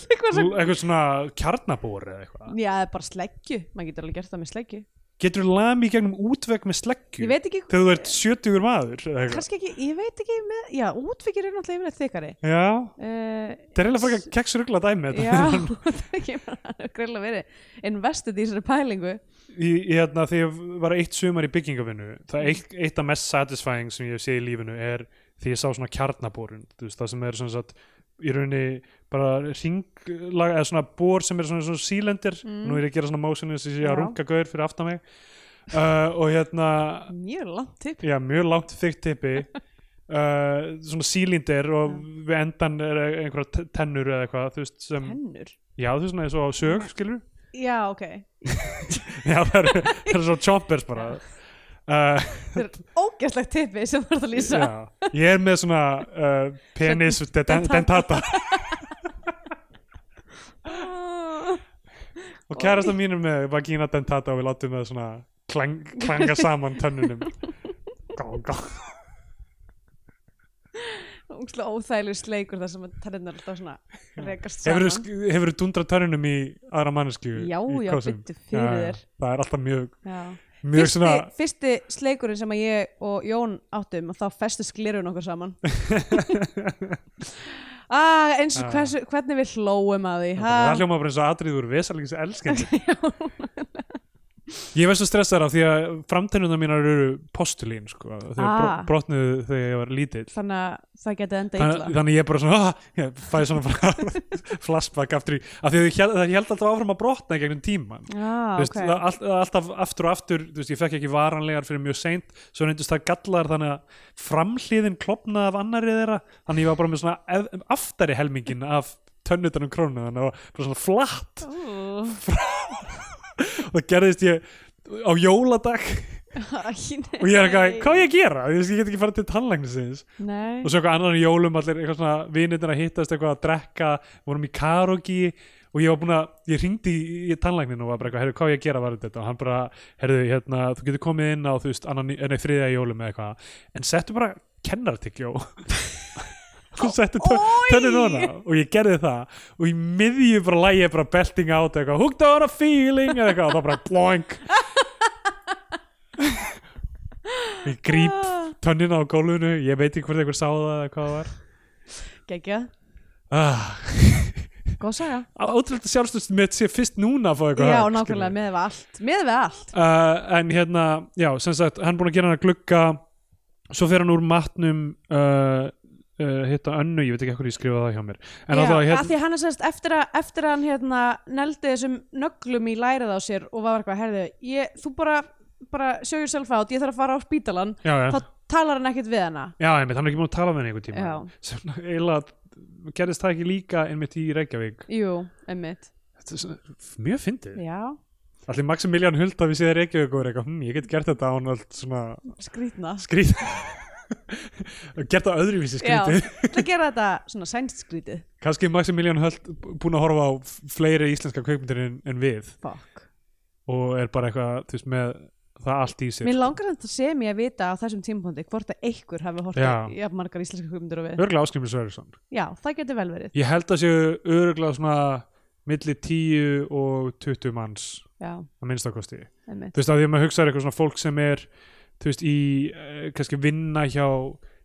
S2: eitthvað sem,
S1: einhvers svona kjarnabór eða eitthvað,
S2: já bara sleggju maður getur alveg gert það með sleggju
S1: getur lami í gegnum útvegg með sleggju,
S2: ég veit ekki,
S1: þegar þú ert 70 maður, eða eitthvað,
S2: kannski ekki ég veit ekki með, já útvikir er náttúrulega yfirleitt þykari
S1: já
S2: uh,
S1: það er eiginlega frækja keksrugla dæmi þetta
S2: Já, það kemur hann að grilla verið investið í þessari pælingu
S1: í, í hérna, þegar ég var eitt sumar í byggingavinnu það eitt, eitt af mest satisfying sem ég sé í lífinu er því ég sá svona kjarnaborun þú veist, það sem er svona satt í rauninni bara ringlag eða svona bor sem er svona, svona sílendir nú er ég að gera svona mósinu sem ég
S2: Já.
S1: að runga gaur fyrir aftan mig uh, og hérna
S2: Mjög langt tipp
S1: já, mjög langt þykkt tippi uh, svona sílindir og við endan er einhverja te- tennur eða eitthvað þú veist sem,
S2: Hennur
S1: já þú veist svona eins og á sög skilur
S2: Já, ok
S1: já það eru það eru svo chompers bara uh,
S2: Þetta er ógæslegt tippi sem þú ert að lýsa
S1: Já, ég er með svona uh, penis de- den- dentata
S2: Ah,
S1: og kærasta mín er með vagina dentata og við látum það svona klang, klanga saman tönnunum gá, gá.
S2: Ógæslega óþægilegur sleikur þar sem tenninnar alltaf svona rekast saman
S1: hefur þú dundra tönnunum í aðra manneskju
S2: Já,
S1: í
S2: já,
S1: kossum?
S2: biddu fyrir
S1: Já, já.
S2: þér.
S1: það er alltaf mjög,
S2: Já.
S1: mjög svona
S2: fyrsti sleikurinn sem að ég og Jón áttum og þá festist glirun okkur saman ah, eins og
S1: Ah.
S2: hversu, hvernig við hlóum að því ha?
S1: það hljóma bara eins og atriður vesalings elskandi ég var svo stressaður af því að framtennunar mínar eru postulín sko, þau
S2: Ah.
S1: ah. brotnuðu þegar ég var lítill
S2: þannig að það geti enda
S1: Þann,
S2: illa
S1: þannig ég er bara svona "Ah", ég fæði svona bara flashback aftur í af því að ég held, það held alltaf áfram að brotna í gegnum tíman
S2: Já,
S1: Þú veist,
S2: Ah, ok.
S1: það, all, það alltaf aftur og aftur þú veist, ég fekk ekki varanlegar fyrir mjög seint svo reyndust það gallar þannig að framhliðin klopnaði af annari þeirra þannig ég var bara með svona ef, aftari helmingin af tönnutanum krónu þannig að það var bara svona flatt
S2: Ú,
S1: og það gerðist ég á jóladag
S2: æ, nei.
S1: og ég er eitthvað, hvað á ég að gera? Ég, veist, ég get ekki farið til tannlæknisins
S2: Nei,
S1: og svo eitthvað annan í jólum allir eitthvað svona vinirnir að hittast eitthvað að drekka vorum í karogi og ég var búin að ég ringdi í, í tannlæknin og var bara eitthvað heyrðu hvað á ég að gera var þetta og hann bara heyrðu hérna þú getur komið inn á þú veist annan, í- nei, þriðja í jólum eða eitthvað en settu bara kennartyggjó og settu tönnið núna og ég gerði það og í miðju bara lægi bara belting át eitthvað hooked on a feeling eða eitthvað og það bara bloink ég gríp tönnina á gólfinu, ég veit ekki hvort einhver sá það eða hvað það var
S2: geggja
S1: ah,
S2: góð saga
S1: ótrúlega sjálfstöðst mitt sé fyrst núna að fá eitthvað
S2: já,
S1: högg, skilurðu.
S2: nákvæmlega, með við allt með við allt
S1: uh, en hérna, já, sem sagt hann er búin að gera hann að glugga svo fer hann úr matnum uh, uh, hitta önnu, ég veit ekki ekkur ég skrifaði það hjá mér en hérna-
S2: já,
S1: alltaf að
S2: að því að hann er semst eftir að, eftir að hann hérna neldi þessum nöglum í lærið á sér og var eitthvað, herðu, ég, þú bara bara show yourself out, ég þarf að fara á spítalan
S1: já, já,
S2: þá talar hann ekkert við hana
S1: já, einmitt, hann er ekki búin að tala með henni einhver tíma
S2: Já.
S1: sem eiginlega gerðist það ekki líka einmitt í Reykjavík
S2: jú, emmitt,
S1: Þetta er svona, mjög fyndið
S2: já
S1: allir Maximilian Hulda við séð Reykjavík og er eitthvað, hm, ég get gert þetta án allt svona
S2: skrýtna,
S1: skrýt gert það öðruvísi
S2: já,
S1: skrýtið
S2: ætla að gera þetta svona sænst skrýtið,
S1: kannski Maximilian Höld búin að horfa á f- fleiri íslenska kveikmyndir en, en við
S2: fuck
S1: og er bara eitthvað, þú veist, með það allt í sér
S2: mér langar þetta sem ég að vita á þessum tímpóndi hvort að einhver hafi
S1: Já.
S2: horta já, margar íslenska hugmyndir og við
S1: örgla Áskrimur Sverjesson
S2: já, það getur vel verið,
S1: ég held að séu örgla svona milli 10 og 20 manns
S2: já,
S1: að minnstakosti þú
S2: emmitt
S1: veist, að því að maður hugsaður eitthvað svona fólk sem er þú veist, í eh, kannski vinna hjá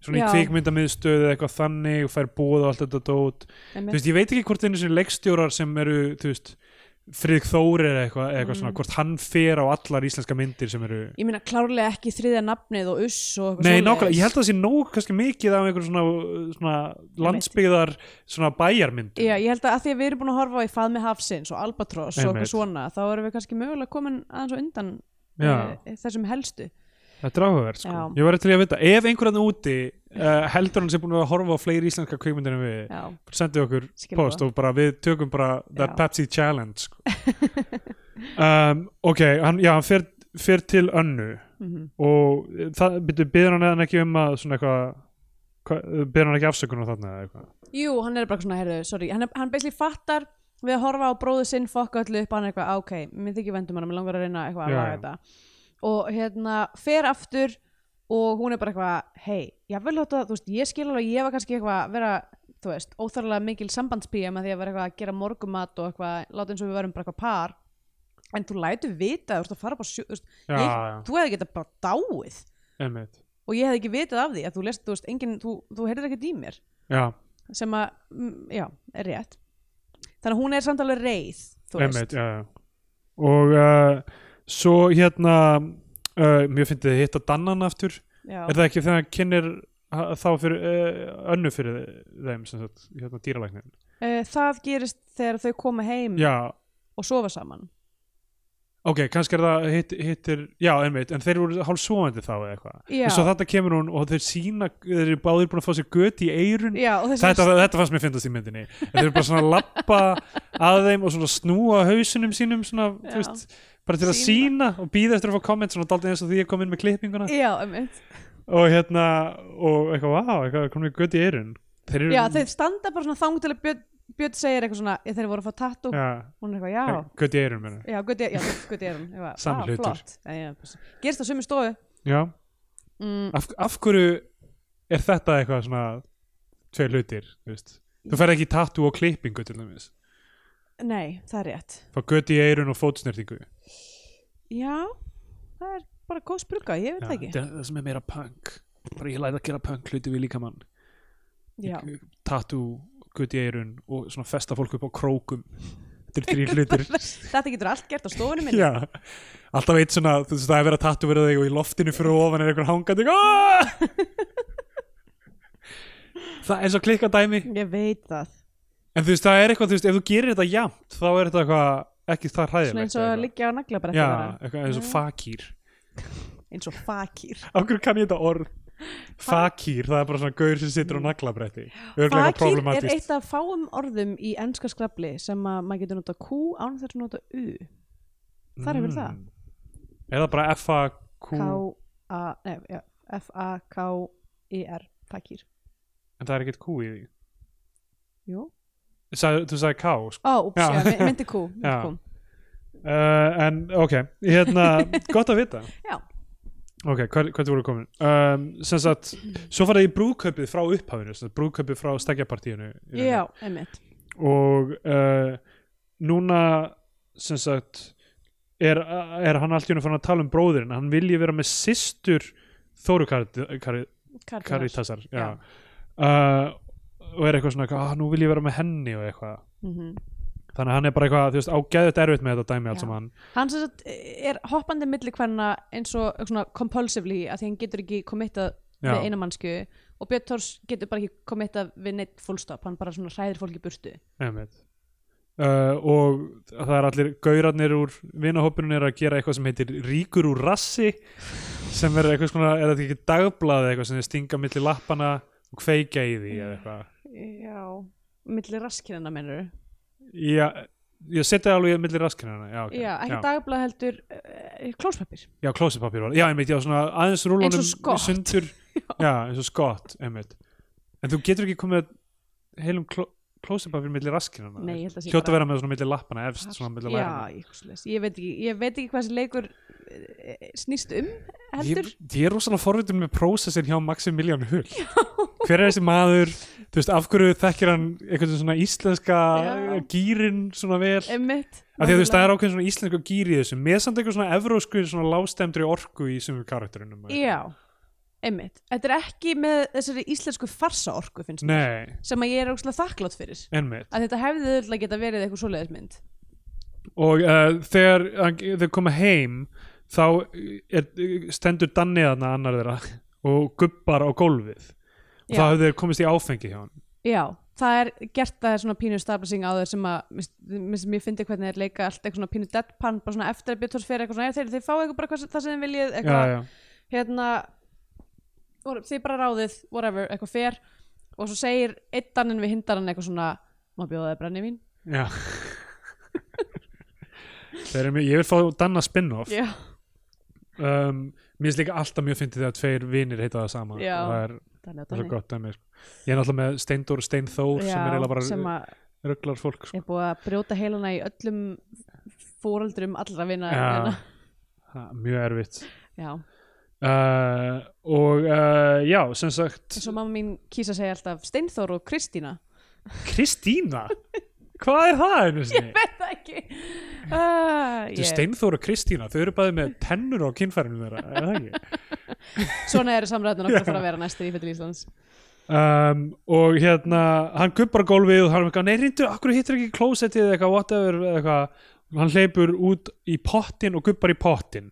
S1: svona
S2: Já.
S1: í kveikmyndamiðstöð eða eitthvað þannig og fær bóð og allt þetta dót þú veist, ég veit ekki hvort einu sinni leikstjórar sem eru, þú veist Frið Þóri eða eitthvað, eitthvað
S2: Mm.
S1: svona, hvort hann fer á allar íslenska myndir sem eru
S2: ég meina klárlega ekki þriðja nafnið og uss og eitthvað
S1: Nei,
S2: svoleiðis.
S1: nákvæmlega, ég held að það sé nóg kannski mikið af einhverjum svona, svona landsbyggðar svona bæjarmyndum
S2: Já, ég held að, að því að við erum búin að horfa á í Faðmi Hafsins og Albatross og
S1: Einmitt.
S2: eitthvað svona þá erum við kannski mögulega komin aðeins og undan
S1: Já.
S2: eh, þessum helstu
S1: Þetta er áhugavert, sko.
S2: Já.
S1: Ég var eftir í að vita, ef einhverjarni úti uh, heldur hann sem búin að horfa á fleiri íslenska kveikmyndir en við,
S2: Já,
S1: sendið okkur
S2: Skilboð.
S1: post og bara við tökum bara that
S2: Já.
S1: Pepsi challenge sko. um, ok, hann, já, hann fer, fer til önnu
S2: Mhm.
S1: og það byrju, byrður hann eða ekki um að svona eitthvað hva- byrður hann ekki afsökunum þarna eða eitthvað
S2: jú, hann er bara svona, heyrðu, sorry hann, er- hann beisli fattar við að horfa á bróðu sinn fokka öllu upp hann er eitthvað, "Á, ok, minn þykir vendum hann mér langar að reyna eitthvað að
S1: Já,
S2: laga
S1: já.
S2: þetta og hérna, fer aftur og hún er bara eitthvað, hei ég vil þetta, þú veist, ég skil alveg, ég var kannski eitthvað að vera, þú veist, óþarlega mikil sambandspíja með því að vera eitthvað að gera morgumat og eitthvað, láta eins og við verum bara eitthvað par en þú lætur vita þú ert að fara bara sjö, þú veist,
S1: Já,
S2: ég,
S1: já.
S2: þú hefði getað bara dáið
S1: einmitt,
S2: og ég hefði ekki vitað af því að þú lest, þú veist, engin, þú, þú heyrðir ekkert í mér
S1: já,
S2: sem að, mm, já, er rétt þannig að hún er samt alveg reið þú veist,
S1: einmitt já, já. og uh, svo hérna uh, mér finnst þið hitta Dannan aftur
S2: já,
S1: er það ekki þegar hann kynir ha- þá fyrir uh, önnu fyrir þeim sem sagt, hérna dýralæknin
S2: Eh, það gerist þegar þau koma heim
S1: já,
S2: og sofa saman
S1: Ok, kannski er það hitt, hittir, já, einmitt, en þeir eru hálfsofandi þá eða eitthvað.
S2: Já.
S1: En Svo þetta kemur hún og þeir sína, þeir eru báðir búin að fá sér göt í eirun.
S2: já, og þessi
S1: Þetta, þetta fannst mér fyndast í myndinni. En þeir eru bara svona að lappa að þeim og svona snúa hausinum sínum svona,
S2: Já.
S1: þú veist, bara til að sína
S2: Sýna.
S1: og býða eftir að fá komment svona daldið eins og því ég kom inn með klippinguna
S2: já, einmitt.
S1: og hérna, og eitthvað, vá, eitthvað, kom við göt í eirun. Þeir eru,
S2: já, þeir standa bara svona þangutil að Björn, Björn segir eitthvað svona, "Ég, þeir voru að fá tattu
S1: já,
S2: hún er eitthvað, já,
S1: göt í eirun, menna.
S2: já, gutti, já, gutti er hún Ég var,
S1: Sami
S2: "Ah,
S1: hlutur.
S2: flott." Já, já, gerist á sömu stofu
S1: Já,
S2: mm,
S1: af, af hverju er þetta eitthvað svona tveir hlutir, þú veist þú ferð ekki í tattoo og klippingu til dæmis
S2: nei, það er rétt
S1: fá göti í eirun og fótsnertingu
S2: já, það er bara góð spruga, ég veit það ekki
S1: er það sem er meira punk bara ég læði að gera punk hluti við líkamann
S2: já,
S1: tattoo, göti í eirun og svona festa fólk upp á krókum þetta er þrýr hlutir
S2: þetta getur allt gert á stofunum minni
S1: Já, alltaf eitt svona, þú veist, það er verið að tattuverða þig og í loftinu fyrir ofan er einhver hangandi "Ah!" Það er eins og klikka dæmi
S2: ég veit það,
S1: En þú veist, það er eitthvað, þú veist, ef þú gerir þetta jafnt þá er þetta eitthvað ekki það hræðilegt
S2: svona eins og
S1: eða
S2: að
S1: eitthvað.
S2: liggja á naglabrætti
S1: Já,
S2: bara.
S1: eitthvað eins og fakir
S2: eins og fakir
S1: Af hverju kann ég þetta orð? Fakir, það er bara svona gaur sem situr á naglabretti Örglega eitthvað
S2: Fakir er
S1: problematíst
S2: eitt af fáum orðum í enska skrafli sem að maður getur nota Q án þess að nota U Þar hefur það
S1: Eða Mm. bara F-A-Q
S2: K-A, nei, eh, já, F-A-K-I-R E Fakir,
S1: En það er ekkert Q í því
S2: jú
S1: Sag, Þú sagði K, sko
S2: Ó, úps,
S1: Já.
S2: já, my- myndi Q, myndi
S1: Já.
S2: Q.
S1: uh, En, ok, hérna, gott að vita
S2: Já.
S1: Ok, hvað, hvað voru komin? Um, sem sagt, svo farið í brúðkaupið frá upphafinu, sem sagt, brúðkaupið frá stegjapartíinu í rauninni.
S2: Já, einmitt
S1: og uh, núna sem sagt er, er hann allt í unum fann að tala um bróðurinn hann vilji vera með systur Þóru Karit- Karit-
S2: Karitas.
S1: Karitasar já.
S2: Já.
S1: Uh, og er eitthvað svona, eitthvað, ah, nú vil ég vera með henni og eitthvað
S2: Mhm.
S1: þannig að hann er bara eitthvað, þú veist, ágæðið erfitt með þetta dæmi allt
S2: Já.
S1: saman
S2: Hann sem sagt er hoppandi milli hverna eins og svona compulsively að því hann getur ekki committað
S1: Já.
S2: við eina mannsku og Björn Tórs getur bara ekki committað við neitt fullstop, hann bara svona hræðir fólki í burtu
S1: Einmitt. Uh, og það er allir gaurarnir úr vinahópinu er að gera eitthvað sem heitir ríkur úr rassi sem er eitthvað svona, er þetta ekki dagblað eða eitthvað sem þeir stinga milli lappana og kveikja í því
S2: Mm.
S1: eða eitthvað
S2: Já, milli raskinina mennur
S1: Já, ég seti það alveg milli raskinana Já, okay.
S2: Já, ekki
S1: já.
S2: dagblað heldur uh, klóspapir
S1: já klósipapír var Já, einmitt, já, svona aðeins
S2: Eins
S1: rúlunum
S2: og skott.
S1: í sundur Já, eins og skott, einmitt En þú getur ekki komið að heilum kló, klósipapír milli raskinana
S2: Nei, ég held að sé
S1: Hljóta að
S2: bara-
S1: vera með svona milli lappana efst, svona milli
S2: Já,
S1: læranna.
S2: ég, svoleiðis. ég, veit ekki, ég veit ekki hvað þessi leikur eh, snýst um heldur
S1: ég, ég er rosalega forvitin með prósessin hjá Maximilian Hull hver er þessi maður þú veist, af hverju þekkir hann einhvern svona íslenska
S2: Já.
S1: gýrin svona vel af
S2: Einmitt,
S1: því að þú veist, það er ákveðin svona íslenska gýr í þessu með samt einhver svona evrósku svona lástemdri orku í sumum karakterunum
S2: Já, einmitt Þetta er ekki með þessari íslensku farsaorku finnst mér,
S1: nei,
S2: sem að ég er ógstlega þakklátt fyrir
S1: ennmitt
S2: að þetta hefði auðvitað geta verið eitthvað svoleiðismynd
S1: og uh, þegar hann- þau koma heim þá eh, er, stendur Danni þarna annar þeirra og gubbar á gólfið og
S2: Já.
S1: þá hefur þeir komist í áfengi hjá hann
S2: Já, það er gert það er svona pínu stabilising á þeir sem að mér finnst- mér finnst ég hvernig þeir leika allt eitthvað svona pínu deadpan bara svona eftir að byrja fyrir eitthvað svona "Já, þeir, þeir fá eitthvað bara hvað, sem- það sem þeir viljið
S1: já,
S2: eitthvað,
S1: já.
S2: hérna or- þið bara ráðið, whatever, eitthvað fer og svo segir einn dannin við hindarann eitthvað svona, má bjóða þið brenni mín
S1: Já Þeir eru mjög, ég vil fá Danna spin-off
S2: Já,
S1: um, Mér finnst líka alltaf mjög fyndið þegar tveir vinir heita það sama
S2: Já.
S1: Það er,
S2: danni
S1: það
S2: og
S1: er
S2: danni
S1: gott dæmi sko. Ég er náttúrulega með Steindór Steinþór sem er eiginlega bara
S2: sem að
S1: rugglar fólk sko.
S2: er búið að brjóta heilana í öllum fóreldrum allra vina
S1: Já,
S2: vina.
S1: það er Mjög erfitt
S2: já.
S1: uh, Og uh, já, sem sagt
S2: eins og mamma mín kýsa segja alltaf Steinþór og Kristína
S1: Kristína Hvað er það einu sinni?
S2: veit það ekki uh,
S1: Þetta er
S2: ég,
S1: Steinþór og Kristína, þau eru bæði með tennur á kynfærinu þeirra, er það ekki?
S2: svona eru samræðin okkur að fara að vera næstir í fyrir Íslands
S1: um, og hérna hann gubbar gólfið og hann er eitthvað nei reyndu, akkur hittir ekki klósettið eða eitthvað whatever eða eitthvað, Og hann hleypur út í pottin og gubbar í pottin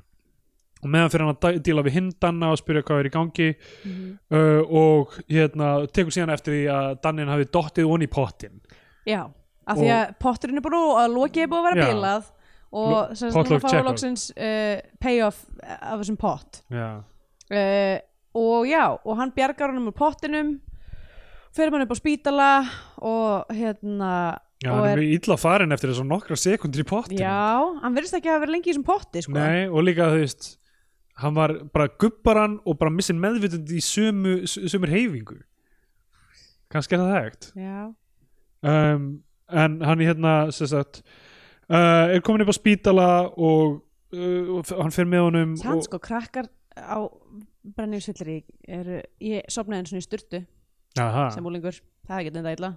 S1: og meðan fyrir hann að dæ- díla við hindanna og spyrja hvað er í gangi
S2: Mhm.
S1: uh, og hérna tekur síðan eftir því að Dannin hafi dottið onni í pottin
S2: já, af því að potturinn er búin að lokið er búið að vera
S1: Já.
S2: bilað og
S1: Lo-
S2: sem sagt
S1: potluck
S2: núna fáið
S1: Chekhov.
S2: loksins uh, payoff af þessum pott
S1: já,
S2: uh, og já, og hann bjargar honum úr pottinum fyrir hann upp á spítala og hérna
S1: já
S2: og
S1: hann er mjög illa farin eftir þess að nokkra sekundir í pottin
S2: Já, hann verðist ekki að hafa verið lengi í þessum potti sko.
S1: Nei, og líka þú veist hann var bara gubbar hann og bara missin meðvitund í sömu, sömur heifingu kannski er það hægt
S2: Já,
S1: um, en hann hérna sem sagt uh, er komin upp á spítala og, uh, og hann fer með honum
S2: hann
S1: og,
S2: sko krakkar á brennjusvillri eru, ég sopnaði eins og í styrtu
S1: aha,
S2: sem úlingur, það er ekki þetta illa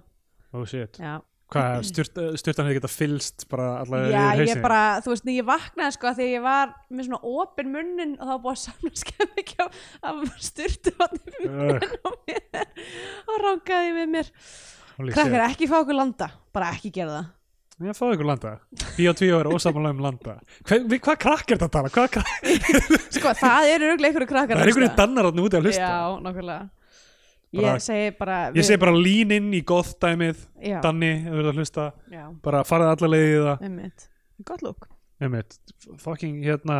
S1: oh shit
S2: Já,
S1: hvað, styrt, styrtan hefði geta fylst bara allavega
S2: já
S1: yfir
S2: ég
S1: hausinn?
S2: bara, þú veist, ég vaknaði sko þegar ég var með svona opin munnin og það var búið að samla skemmi ekki af, af styrtu
S1: Ugh,
S2: og rangaði við mér
S1: holy shit.
S2: krakkar ekki fá okkur landa, bara ekki gera það
S1: ég fáði ykkur landa Bíó 2 er ósamlega um landa Hva, við, hvað krakk er þetta að tala? Hvað krakk?
S2: sko, það eru auðvitað einhverju krakkar
S1: það er
S2: að
S1: einhverju
S2: hlusta.
S1: dannar þarna úti að hlusta
S2: Já, nákvæmlega
S1: Bara-
S2: Ég segi bara
S1: ég segi bara lín inn í goth-dæmið
S2: Já.
S1: Danni, ef þú ert að hlusta
S2: Já,
S1: bara farið alla leiði í það
S2: einmitt Gott lúk
S1: Einmitt, fucking hérna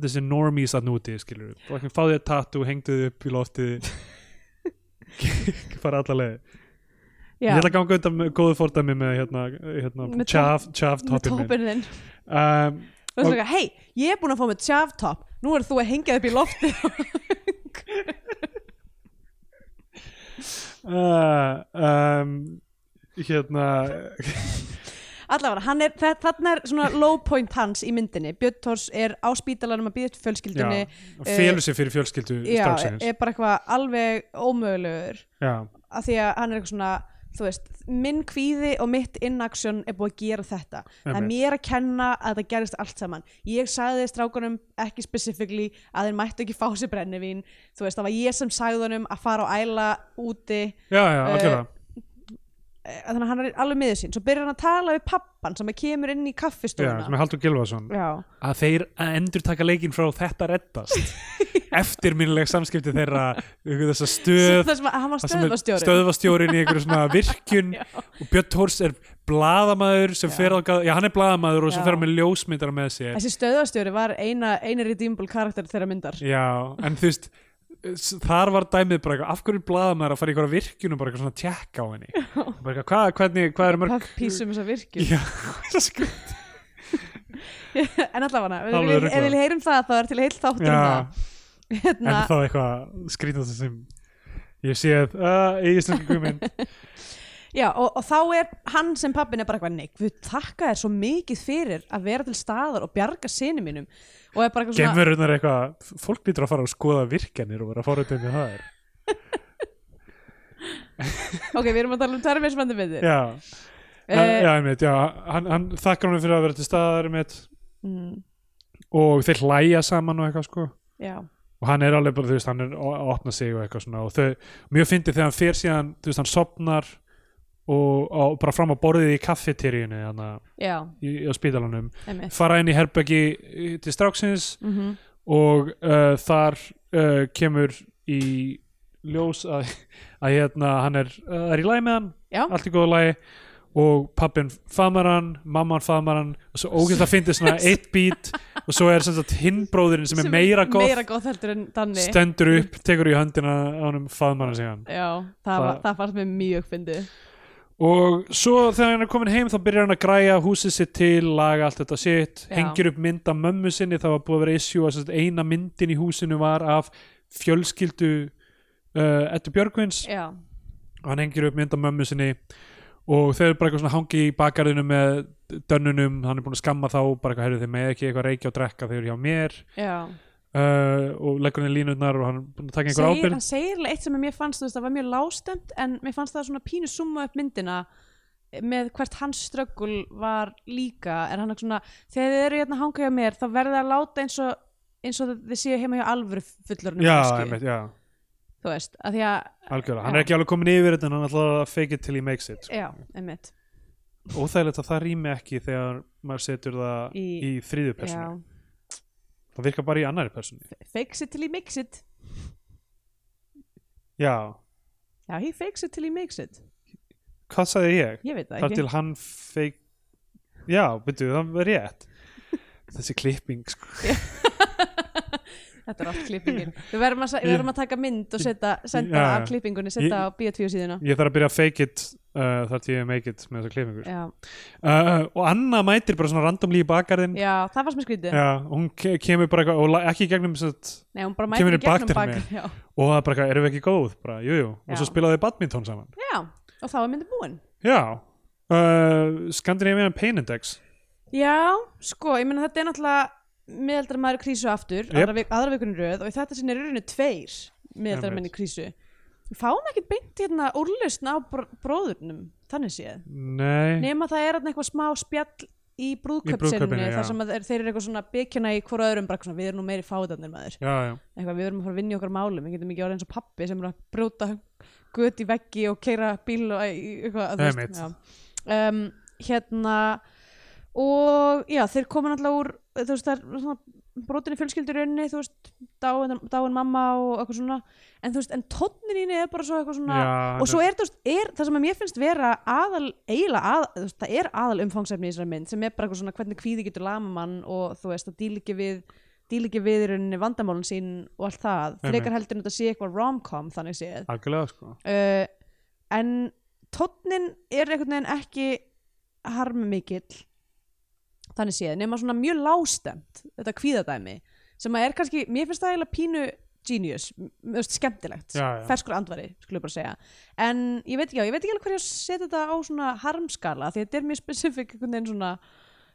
S1: þessi normies að núti skilur fucking fáðið að tattoo, hengduð upp í loftið farið alla leiði ég
S2: Já,
S1: ætla að ganga undan með góðu fordæmi með hérna, hérna
S2: Með
S1: chaff, chaff
S2: með
S1: toppin minn
S2: toppinn þinn
S1: um,
S2: Og þú sagði, hei, ég er búin að fá með tjaftopp Nú er þú að hengja upp í lofti
S1: uh, um, hérna
S2: Allavega, hann er, þa- þarna er svona low point hans í myndinni Björn Tórs er á spítalanum að býða upp fjölskyldunni
S1: já, félur sér fyrir fjölskyldu
S2: uh, Já,
S1: straxins
S2: er bara eitthvað alveg ómögulegur
S1: já,
S2: af því að hann er eitthvað svona þú veist, minn kvíði og mitt inaction er búið að gera þetta það er
S1: Einmitt.
S2: mér að kenna að það gerist allt saman ég sagði strákunum ekki specifíkli að þeir mættu ekki fá sér brennivín þú veist, það var ég sem sagði honum að fara á æla úti Uh,
S1: já, já algjörlega
S2: eh, þannig að hann er alveg miður sín svo byrjar hann að tala við pappan sem að kemur inn í
S1: já,
S2: kaffistofuna
S1: sem er Haldur Gilvason
S2: já,
S1: að þeir að endur taka leikinn frá þetta reddast eftirminnileg samskipti þeirra einhver þessa stöð
S2: það sem að hann var
S1: það sem er
S2: stöðvastjóri
S1: stöðvastjórinn í einhverju svona virkjun
S2: Já.
S1: og Björn Tórs er blaðamaður sem
S2: Já.
S1: fer á gað, já hann er blaðamaður og sem
S2: Já.
S1: fer á með ljósmyndara með sér
S2: þessi stöðvastjóri var eina, eina redeemable karakter þeirra myndar
S1: Já, en þú veist s- þar var dæmið bara eitthvað, af hverju blaða maður að fara í einhverja virkjun og bara eitthvað svona tjekk á henni bara eitthvað, hvað, hvernig, hvað er mörg
S2: pappísum þessa virkjum
S1: Já, það skur
S2: en allavega, ef
S1: Alveg
S2: við-
S1: ruglað.
S2: ef við heyrum það þá er til heill þáttur um
S1: Já,
S2: það
S1: en
S2: hérna,
S1: þá eitthvað skrýtast sem ég sé að uh, ég snakka guðmynd
S2: já, og, og þá er hann sem pappin er bara eitthvað neik, við þakka þér svo mikið fyrir að vera til staðar og bjarga sinni mínum og er bara eitthvað svona
S1: gemverunar eitthvað, fólk lítur að fara og skoða virkjanir og vera fórhundin með það er
S2: ok, við erum að tala um termismandi myndir
S1: Já, uh,
S2: Eh,
S1: já, einmitt, já hann, hann þakkar honum fyrir að vera til staðar einmitt
S2: mm,
S1: og þeir hlæja saman og eitthvað sko
S2: já.
S1: og hann er alveg bara, þú veist, hann er að opna sig og eitthvað svona og þau, mjög fyndið þegar hann fer síðan, þú veist, hann sopnar og, og bara fram á borðið í kaffeteríunni þannig að-
S2: já,
S1: í, á spítalanum
S2: einmitt
S1: fara inn í herbeggi til stráksins
S2: mm
S1: og uh, þar uh, kemur í ljós að, að hérna, hann er, uh, er í læg með hann
S2: já,
S1: allt í góðu lagi og pappin famar hann, mamman famar hann og svo ógeðslega fyndið svona eitt bít og svo er sem sagt hinbróðurinn sem, er meira góð
S2: meira góð heldur en danni
S1: stendur upp, tekur í höndina á honum faðmann síðan
S2: já, það,
S1: Það-
S2: var, það fannst mér mjög fyndið
S1: og svo þegar hann er komin heim þá byrjar hann að græja húsið sitt til laga allt þetta sitt,
S2: Já.
S1: hengir upp mynd af mömmu sinni, það var búið að vera issue að sem sagt eina myndin í húsinu var af fjölskyldu uh, Eddu Björgvins
S2: já,
S1: og hann hengir upp mynd af mömmu sinni og þeir eru bara eitthvað svona hangi í bakarðinu með dönnunum, hann er búin að skamma þá og bara eitthvað, heyrðu þeir með ekki eitthvað reykja og drekka þeir eru hjá mér
S2: já
S1: uh, og leggur henni línurnar og hann er búin að taka einhver
S2: segir,
S1: ábyrgð
S2: hann segir eitt sem mér fannst þú veist, það var mjög lástemt en mér fannst það svona pínu summa upp myndina með hvert hans ströggul var líka er hann eitthvað svona, þegar þið eru hérna að hanga hjá mér þá verður það að láta eins og eins og þið séu heima hjá alvöru fullorinu
S1: Já, einmitt, já
S2: þú veist, að því að
S1: Algjörlega, hann
S2: Já.
S1: er ekki alveg komin yfir þetta en hann ætlaði að fake it till he makes it sko.
S2: já, einmitt,
S1: Óþægilegt að það rými ekki þegar maður setur það í,
S2: Í-
S1: í þriðju personu
S2: já
S1: Það virkar bara í annari personu
S2: fakes it till he makes it
S1: Já,
S2: já, he fakes it till he makes it
S1: hvað sagði ég?
S2: ég veit það
S1: Þar
S2: ekki
S1: til hann fake Já, byrju, það var rétt Þessi klipping sko.
S2: þetta er allt klippingin við verðum að, við verðum að taka mynd og setja, senda
S1: Já, já.
S2: af klippingunni setja á B2 síðuna
S1: Ég þarf að byrja að fake it uh, þar til ég make it með þessa klippingur
S2: já,
S1: uh, Og Anna mætir bara svona randomlí í bakarðin
S2: já það fannst mér skrítið
S1: Já, hún ke- kemur bara eitthvað og la- ekki í gegnum sem sagt,
S2: Nei, hún bara
S1: Kemur
S2: mætir í
S1: inn
S2: gegnum
S1: bakdyrum
S2: bakar já.
S1: og það er bara eitthvað, erum við ekki góð? Bara, jú, jú. Og
S2: Já.
S1: svo spilaðu þau badminton saman
S2: já, og þá er myndin búin
S1: Já, uh, Scandinavian Pain Index
S2: Já, sko, ég meina þetta er náttúrulega miðaldra maður í krísu aftur
S1: Jep.
S2: aðra, vik, aðra vikunni röð og í þetta sinni er rauninu tveir miðaldra
S1: Einmitt.
S2: menn í krísu Við fáum ekkert beint hérna úrlausn á br bróðurnum, þannig séð
S1: Nei,
S2: nema það er þarna eitthvað smá spjall í brúðköpsinni
S1: brúðkaupinu, já.
S2: þar sem að þeir, þeir eru eitthvað svona byggjana í hvora öðrum bara eitthvað svona, við erum nú meiri fáðanir maður
S1: já, já,
S2: eitthvað, við erum að fara að vinna í okkar málum við getum ekki orðið eins og pappi sem er að brjóta göt í veggi og keira bíl og í- eitthvað þú
S1: Einmitt.
S2: já. um, hérna og já, þeir komu náttúrulega úr þú veist, það er svona brotinni fjölskyldurunni þú veist, dáin, dáin mamma og eitthvað svona, en þú veist, en tónnin í henni er bara svo eitthvað svona
S1: Já,
S2: og svo er, þú veist, er það sem að mér finnst vera aðal, eiginlega að, þú veist, það er aðal umfangsefni í þessari mynd sem er bara eitthvað svona hvernig kvíði getur lama mann og þú veist að díla ekki við díla ekki við í rauninni vandamálun sín og allt það,
S1: Einmitt.
S2: frekar heldur en þetta sé eitthvað rom-com þannig séð
S1: algjörlega sko
S2: uh, en tónnin er einhvern veginn ekki harmmikill þannig séð, nema svona mjög lástemt þetta kvíðadæmi sem að er kannski, mér finnst það eiginlega pínu genius, m- m- þú veist, skemmtilegt
S1: Já, já.
S2: ferskur andvari, skulle ég bara segja en ég veit ekki, já, ég veit ekki alveg hverju að setja þetta á svona harmskala, því þetta er mjög spesifik einhvern veginn svona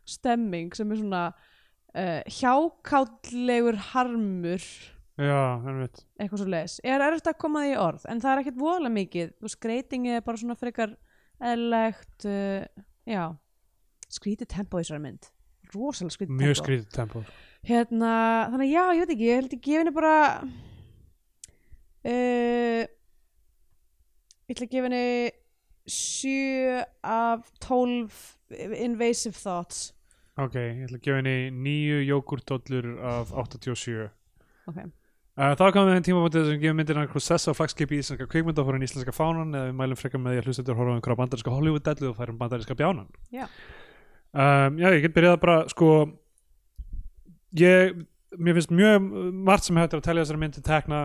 S2: stemming sem er svona uh, hjákáttlegur harmur
S1: Já, hann veit
S2: eitthvað svo leis er erfitt að koma því í orð en það er ekkert voðalega mikið og skreitingi er bara svona frekar eðlilegt uh, já skrítið tempo í þessari mynd rosalega skrítið
S1: Mjög
S2: tempo
S1: skrítið tempó
S2: hérna, þannig að já, ég veit ekki ég held ég gefa henni bara eh, uh, ég ætla að gefa henni 7 af 12 invasive thoughts
S1: ok, ég ætla að gefa henni nýju jógurtdollur af 87
S2: ok,
S1: Uh, þá komum við þeim tímabótið sem gefum myndir einhver sessa og flagskipi í íslenska kvikmynda og fórum í íslenska fánan eða við mælum frekar með því að hlustendur horfa um einhverja bandarinska Hollywood-dellu og færum bandarinska bjánan
S2: Já.
S1: um, Já, ég get byrjað að bara sko ég, mér finnst mjög margt sem hættir að telja þessari myndi tekna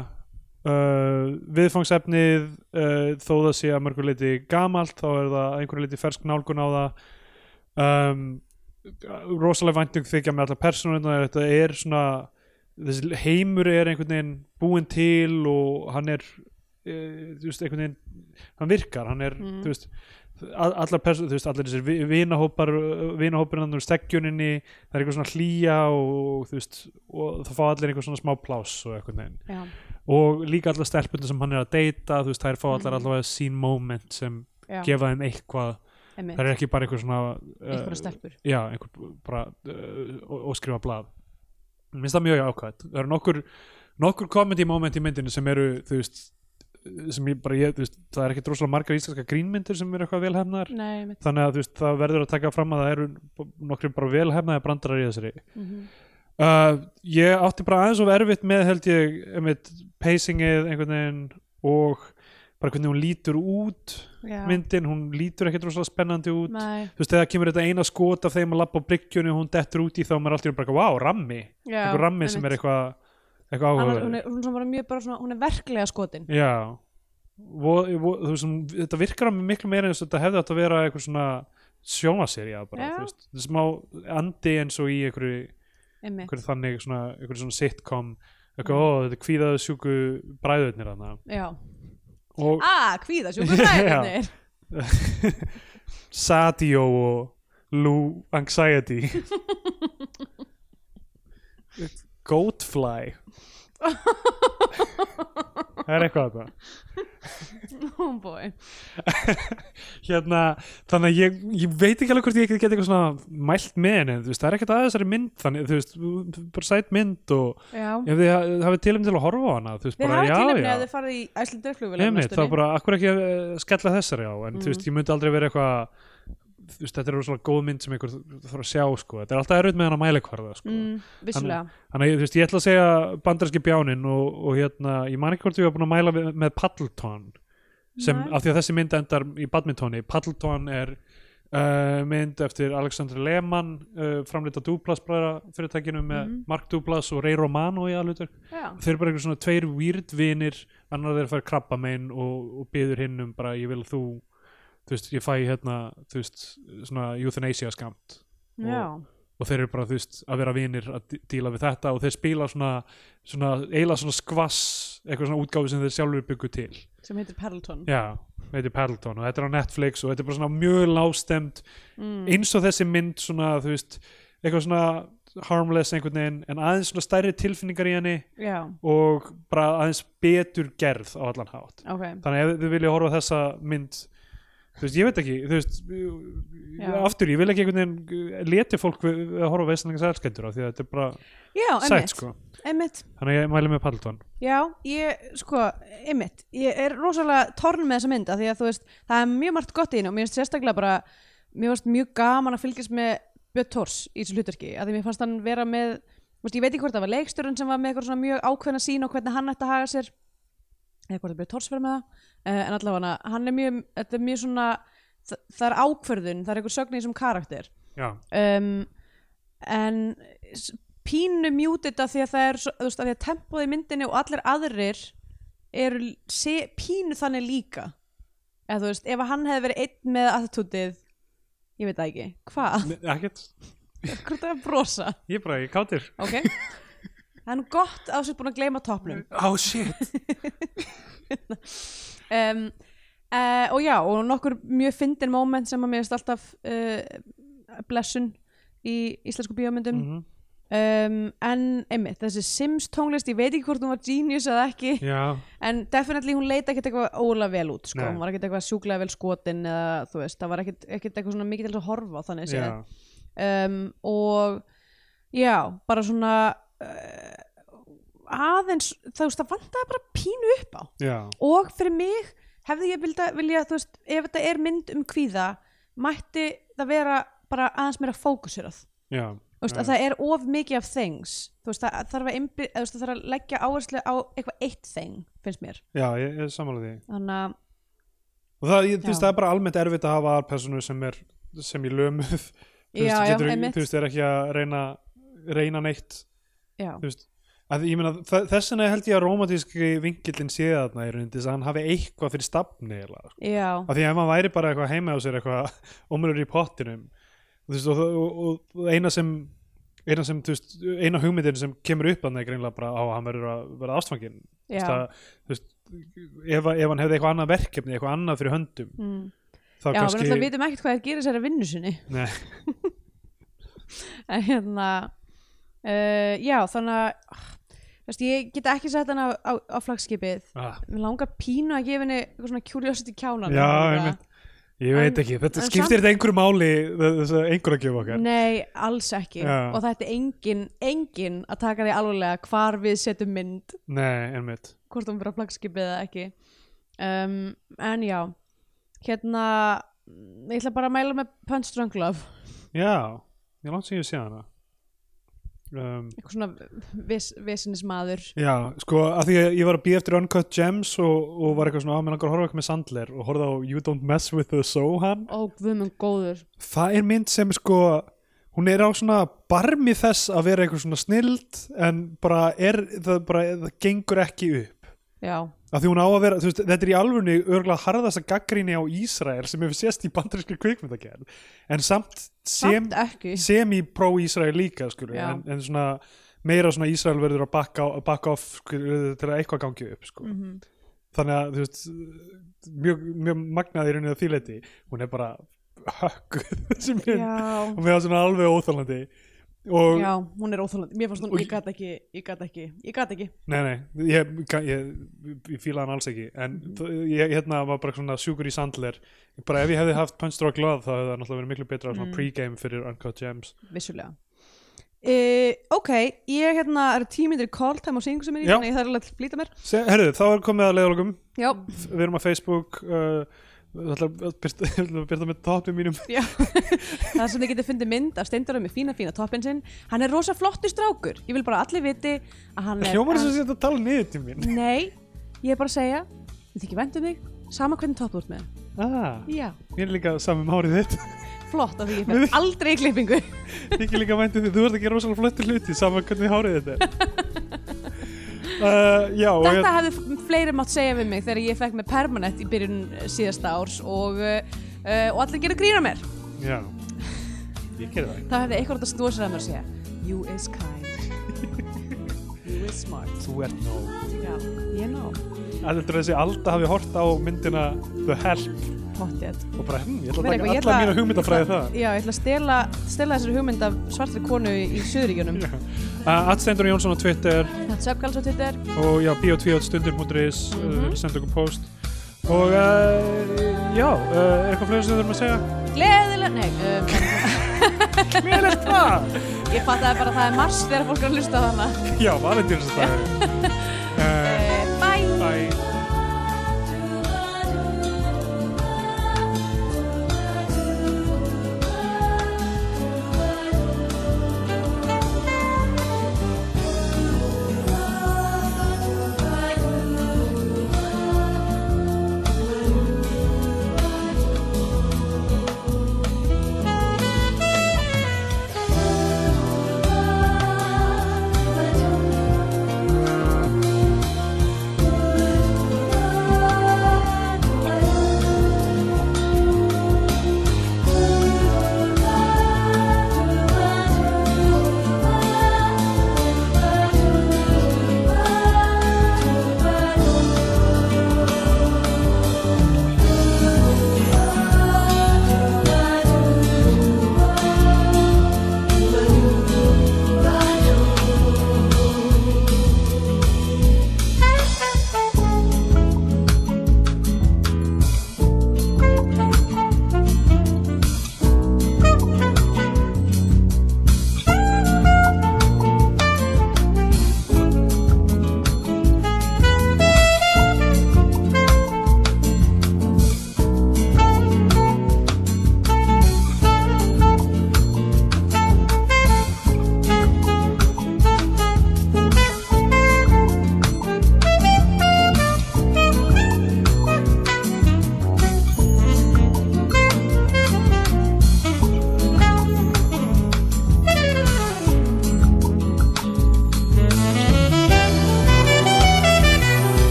S1: uh, viðfangsefnið uh, þó það sé að mörgur liti gamalt þá er það að einhverju liti fersk nálgun á það um, rosalega væntum þykja með alla persónuna þetta er svona þessi heimur er einhvern veginn búinn til og hann er eh, þú veist, einhvern veginn hann virkar, hann er,
S2: Mm.
S1: þú veist a- allar perso, þú veist, allir þessir vi- vinahópar vinahóparinn hann úr stekkjuninni það er eitthvað svona hlýja og þú veist, og það fá allir einhver svona smá plás og einhvern veginn,
S2: já,
S1: og líka allar stelpunni sem hann er að deyta, þú veist, þær fá allar
S2: Mhm.
S1: allavega sín moment sem
S2: já,
S1: gefa þeim eitthvað,
S2: einmitt,
S1: það er ekki bara einhver svona
S2: einhverja
S1: eh,
S2: stelpur
S1: já, einhver bara uh, óskrifa blað Mér finnst það mjög ákvæmt það eru nokkur, nokkur comedy moment í myndinu sem eru þú veist sem ég bara, ég, þú veist, það er ekki droslega margar íslenska grínmyndir sem eru eitthvað velhefnar
S2: nei, einmitt
S1: þannig að þú veist, það verður að taka fram að það eru nokkri bara velhefnaði brandarar í þessari
S2: mm
S1: Uh, ég átti bara aðeins of erfitt með held ég einmitt pacingið einhvern veginn og bara hvernig hún lítur út
S2: já,
S1: myndin, hún lítur ekkert rosalega spennandi út
S2: nei,
S1: þú veist, þegar kemur þetta eina skot af þeim að labba á bryggjunni og hún dettur út í þá maður er alltaf bara, wow, rammi
S2: já,
S1: einhver rammi sem er
S2: einmitt.
S1: eitthvað eitthvað
S2: Annars- hún
S1: áhugaður
S2: er, hún er, svona mjög bara svona, hún er verklega skotin
S1: já vo, vo, þú veist, hún- þetta virkar á mig miklu meira eins og þetta hefði átt að vera eitthvað svona sjómaserja bara,
S2: Já.
S1: þú veist, þetta er smá andi eins og í einhverju,
S2: einmitt, Mm.
S1: einhverju þannig svona, einhverju svona sitcom eitthvað, ó, þetta er kvíðaðu sjúku bræðurnir hana
S2: já
S1: og
S2: ah, kvíða, sjókur
S1: Já.
S2: bræðinir
S1: Sadio og Lou Anxiety Goatfly Það er eitthvað þetta
S2: oh boy
S1: hérna, þannig að ég, ég veit ekki alveg hvort ég get eitthvað svona mælt með henni, þú veist, það er ekkert aðeins þessari mynd þannig, þú veist, bara sætt mynd og
S2: já,
S1: ef þið ha- hafið tilum til að horfa á hana, þú veist,
S2: þeir
S1: bara
S2: hafa
S1: já,
S2: tilefni
S1: já
S2: að þeir farið í Æslandur
S1: Einmitt, þá bara, Mm. akkur ekki uh, skella þessari á en þú veist, ég myndi aldrei vera eitthvað þú veist, þetta er svona góð mynd sem einhver þarf að sjá, sko, þetta er alltaf erut með hann að mælikvarða sko.
S2: mm, vissulega,
S1: þannig, að, þú veist, ég ætla að segja bandarski bjánin og, og hérna, ég man ekki hvort ég var búin að mæla við, með paddleton sem,
S2: Nei.
S1: af því að þessi mynd endar í badmintoni, paddleton er Uh, mynd eftir Alexander Lehmann uh, framlita Duplas bræðra fyrirtækinu með Mark Duplas og Ray Romano í aðlutur
S2: já,
S1: þeir eru bara einhver svona tveir weird vinir annar þeir fær krabba megin og, og byður hinn um bara ég vil að þú þú veist, ég fæ hérna þú veist, svona euthanasia skamt
S2: já
S1: og þeir eru bara, þú veist, að vera vinir að dí- díla við þetta og þeir spila svona, svona eiginlega svona skvass eitthvað svona útgáfi sem þeir sjálfur byggu til
S2: sem heitir Perlton
S1: já, þetta er Paddleton og þetta er á Netflix og þetta er bara svona mjög lágstemt
S2: Mm.
S1: eins og þessi mynd svona, þú veist eitthvað svona harmless einhvern veginn en aðeins svona stærri tilfinningar í henni
S2: já,
S1: og bara aðeins betur gerð á allan hátt
S2: ok,
S1: þannig að ef þið vilja horfa á þessa mynd þú veist, ég veit ekki þú veist,
S2: Já.
S1: aftur, ég vil ekki einhvern veginn leti fólk við, við að horfa veistlega sælskendur á því að þetta er bara
S2: já,
S1: sætt
S2: einmitt,
S1: sko
S2: einmitt
S1: þannig að ég mæli með Paltón
S2: Já, ég, sko, einmitt, ég er rosalega torn með þessa mynd af því að þú veist, það er mjög margt gott í henni og mér finnst sérstaklega bara, mér finnst mjög gaman að fylgjast með Björn Tórs í þessu hlutverki, af því mér fannst hann vera með, þú veist, ég veit ekki hvort það var leikstjórun sem var með eitthvað svona mjög ákveðna sín og hvernig hann ætti að haga sér, eða hvort það Björn Tórs verið með það, uh, en allavega hann er mjög, þetta er mjög svona, það, það er ákverðun, það er eitthvað sögn í þessum karakter
S1: já,
S2: um, en s- pínu mjútið af því að það er svo- þú veist, af því að tempoði myndinni og allir aðrir eru l- se, pínu þannig líka eða þú veist, ef að hann hefði verið einn með attitútið ég veit það ekki, hvað?
S1: ekkert,
S2: hvort það er að brosa
S1: ég bara, ég kátir
S2: ok það er nú gott að þessu búin að gleyma topnum
S1: oh shit,
S2: um, uh, og já, og nokkur mjög fyndin moment sem að mér finnst alltaf uh, blessun í íslensku bíómyndum
S1: Mhm.
S2: um, en einmitt, þessi Sims tónlist ég veit ekki hvort hún var genius eða ekki
S1: já,
S2: en definitely hún leita ekkert eitthvað ólega vel út sko.
S1: Nei.
S2: hún var ekkert eitthvað sjúklega vel skotin eða þú veist, það var ekkert, ekkert eitthvað svona mikið til að horfa á þannig séð
S1: já
S2: um, og já, bara svona uh, aðeins, þú veist, það vantaði bara pínu upp á
S1: já,
S2: og fyrir mig hefði ég vilja, vilja þú veist, ef þetta er mynd um kvíða mætti það vera bara aðeins meira fókusirað
S1: já,
S2: Þú
S1: Mm.
S2: veist, að það er of mikið af things þú veist, það þarf að, einby, eða, þú veist, það þarf að leggja áherslu á eitthvað eitt thing finnst mér,
S1: já, ég, ég samanlega því
S2: þannig að
S1: og það, ég, þú
S2: Já.
S1: veist, það er bara almennt erfitt að hafa aðalpersonu sem er, sem ég lömuð þú veist,
S2: Já, já,
S1: getur,
S2: einmitt.
S1: þú veist, er ekki að reyna reyna neitt,
S2: já,
S1: þú veist að, ég meina, þa- þess vegna held ég að romantíski vingillin sé þarna í rauninni til þess að hann hafi eitthvað fyrir stafni eiginlega, sko.
S2: já,
S1: af því að ef hann væri bara eitthvað heima á sér eitthvað ómurur í pottinum þú veist, og, og, og, og eina sem eina sem, þú veist, eina hugmyndin sem kemur upp hann er greinlega bara á að hann verður að vera ástfangin, þú
S2: já.
S1: veist, að, þú veist ef, að- ef hann hefði eitthvað annað verkefni eitthvað annað fyrir höndum
S2: Mm.
S1: þá
S2: Já, við
S1: kannski
S2: náttúrulega vitum ekkert hvað þeir gerir sér að vinnu sinni
S1: Nei.
S2: En hérna uh, Já, þannig að ah, þú veist, Ég get ekki sett hann á, á, á flagskipið
S1: ah,
S2: Mér langar pínu að gefa henni eitthvað svona curiosity kjánan
S1: Já, einmitt. ég veit ekki, þetta
S2: en
S1: skiptir þetta einhverju máli þess að einhverju að gefa okkar
S2: Nei, alls ekki
S1: Já.
S2: Og þetta er engin, engin að taka því alveglega hvar við setjum mynd
S1: Nei, einmitt
S2: hvort hún verið á flagskipið eða ekki um, En já Hérna Ég ætla bara að mæla með Punch Drunk Love
S1: Já, ég langt sem ég sé hana um,
S2: eitthvað svona ves, vesinnismadur
S1: Já, sko, að því að ég var að býja eftir Uncut Gems og, og var eitthvað svona að mér langar að horfa eitthvað með Sandler og horfa á You Don't Mess With The Sohan
S2: Ó, guðmund góður
S1: Það er mynd sem sko hún er á svona barmi þess að vera eitthvað svona snild en bara er, það bara, það gengur ekki upp
S2: Já,
S1: að því hún á að vera, þú veist, þetta er í alvörni örgulega harðasta gaggríni á Ísrael sem hefur sést í bandarinskri kvikmyndagerð en samt sem,
S2: samt ekki
S1: sem í pró-Ísrael líka skur,
S2: Já.
S1: en, en svona meira svona Ísrael verður að bakka back off skur, til að eitthvað gangi upp sko.
S2: mm
S1: þannig að þú veist mjög, mjög magnaði í rauninni að þýleiti hún er bara högg þessi mynd,
S2: Já,
S1: hún er svona alveg óþálandi og
S2: já, hún er óþálandi Mér fannst hún,
S1: Og-
S2: ég gat ekki, ég gat ekki Ég gat ekki,
S1: Nei, nei, ég, ég, ég, ég fíla hann alls ekki en mm ég hérna var bara svona sjúkur í sandler bara ef ég hefði haft Punch Drunk Love þá hefði það náttúrulega verið miklu betra svona
S2: Mm.
S1: pregame fyrir Uncut Gems
S2: vissulega e, Ok, ég hérna er tímyndir call time á syngu sem er í
S1: Já.
S2: Þannig að það er alveg að flýta mér
S1: Se, Herðu, þá er komið að leiðalogum
S2: Já,
S1: við erum á Facebook uh, ég ætla að birta- ég ætla að byrta með topið mínum
S2: já Það sem þið getið fundið mynd af steindurum með fína, fína toppin sinn Hann er rosa flottur strákur Ég vil bara að allir viti að hann er
S1: Hjómar
S2: hann-
S1: sem sé þetta tala niður til mín
S2: Nei, ég er bara að segja Þið þykir væntum mig, sama hvernig topp þú ert með
S1: ah,
S2: Já,
S1: Mér er líka samum árið þitt
S2: flott af því ég fer aldrei í klippingu
S1: Þykir líka væntu því þú ert að gera rosalega flottir hluti saman hvernig hárið þetta er uh, Já, og
S2: Þetta hefði fleiri mátt segja við mig þegar ég fekk mig permanent í byrjun eh, síðasta árs og, uh, uh, og allir gera grína mér.
S1: ég Já Ég gerði það
S2: Þá hefði eitthvað átt að stóð sér að mér og segja You is kind. you is smart.
S1: Þú ert nóg
S2: Já, ég ná.
S1: heldur þessi Alda hafi hort á myndina The Help
S2: Pottið.
S1: og bara, hm, ég ætla að
S2: Meina
S1: taka
S2: eitthvað, ég
S1: alla
S2: ætla-
S1: mína hugmyndafræði það
S2: Já, ég ætla að stela, stela þessari hugmynd af svartri konu í, í Suðuríkjunum.
S1: uh, Atstendur Jónsson á Twitter
S2: Þetta söpkals á Twitter.
S1: og já, bio2.stundir.is mm
S2: Mhm.
S1: -hmm. senda okkur post og uh, já, uh, er eitthvað fleiri sem við þurfum að segja?
S2: Gleðilega, nei, um,
S1: Mér er það!
S2: ég fattaði bara að það er mars þegar fólk er að hlusta á hana. Eh,
S1: Já, valentínstæður Uh,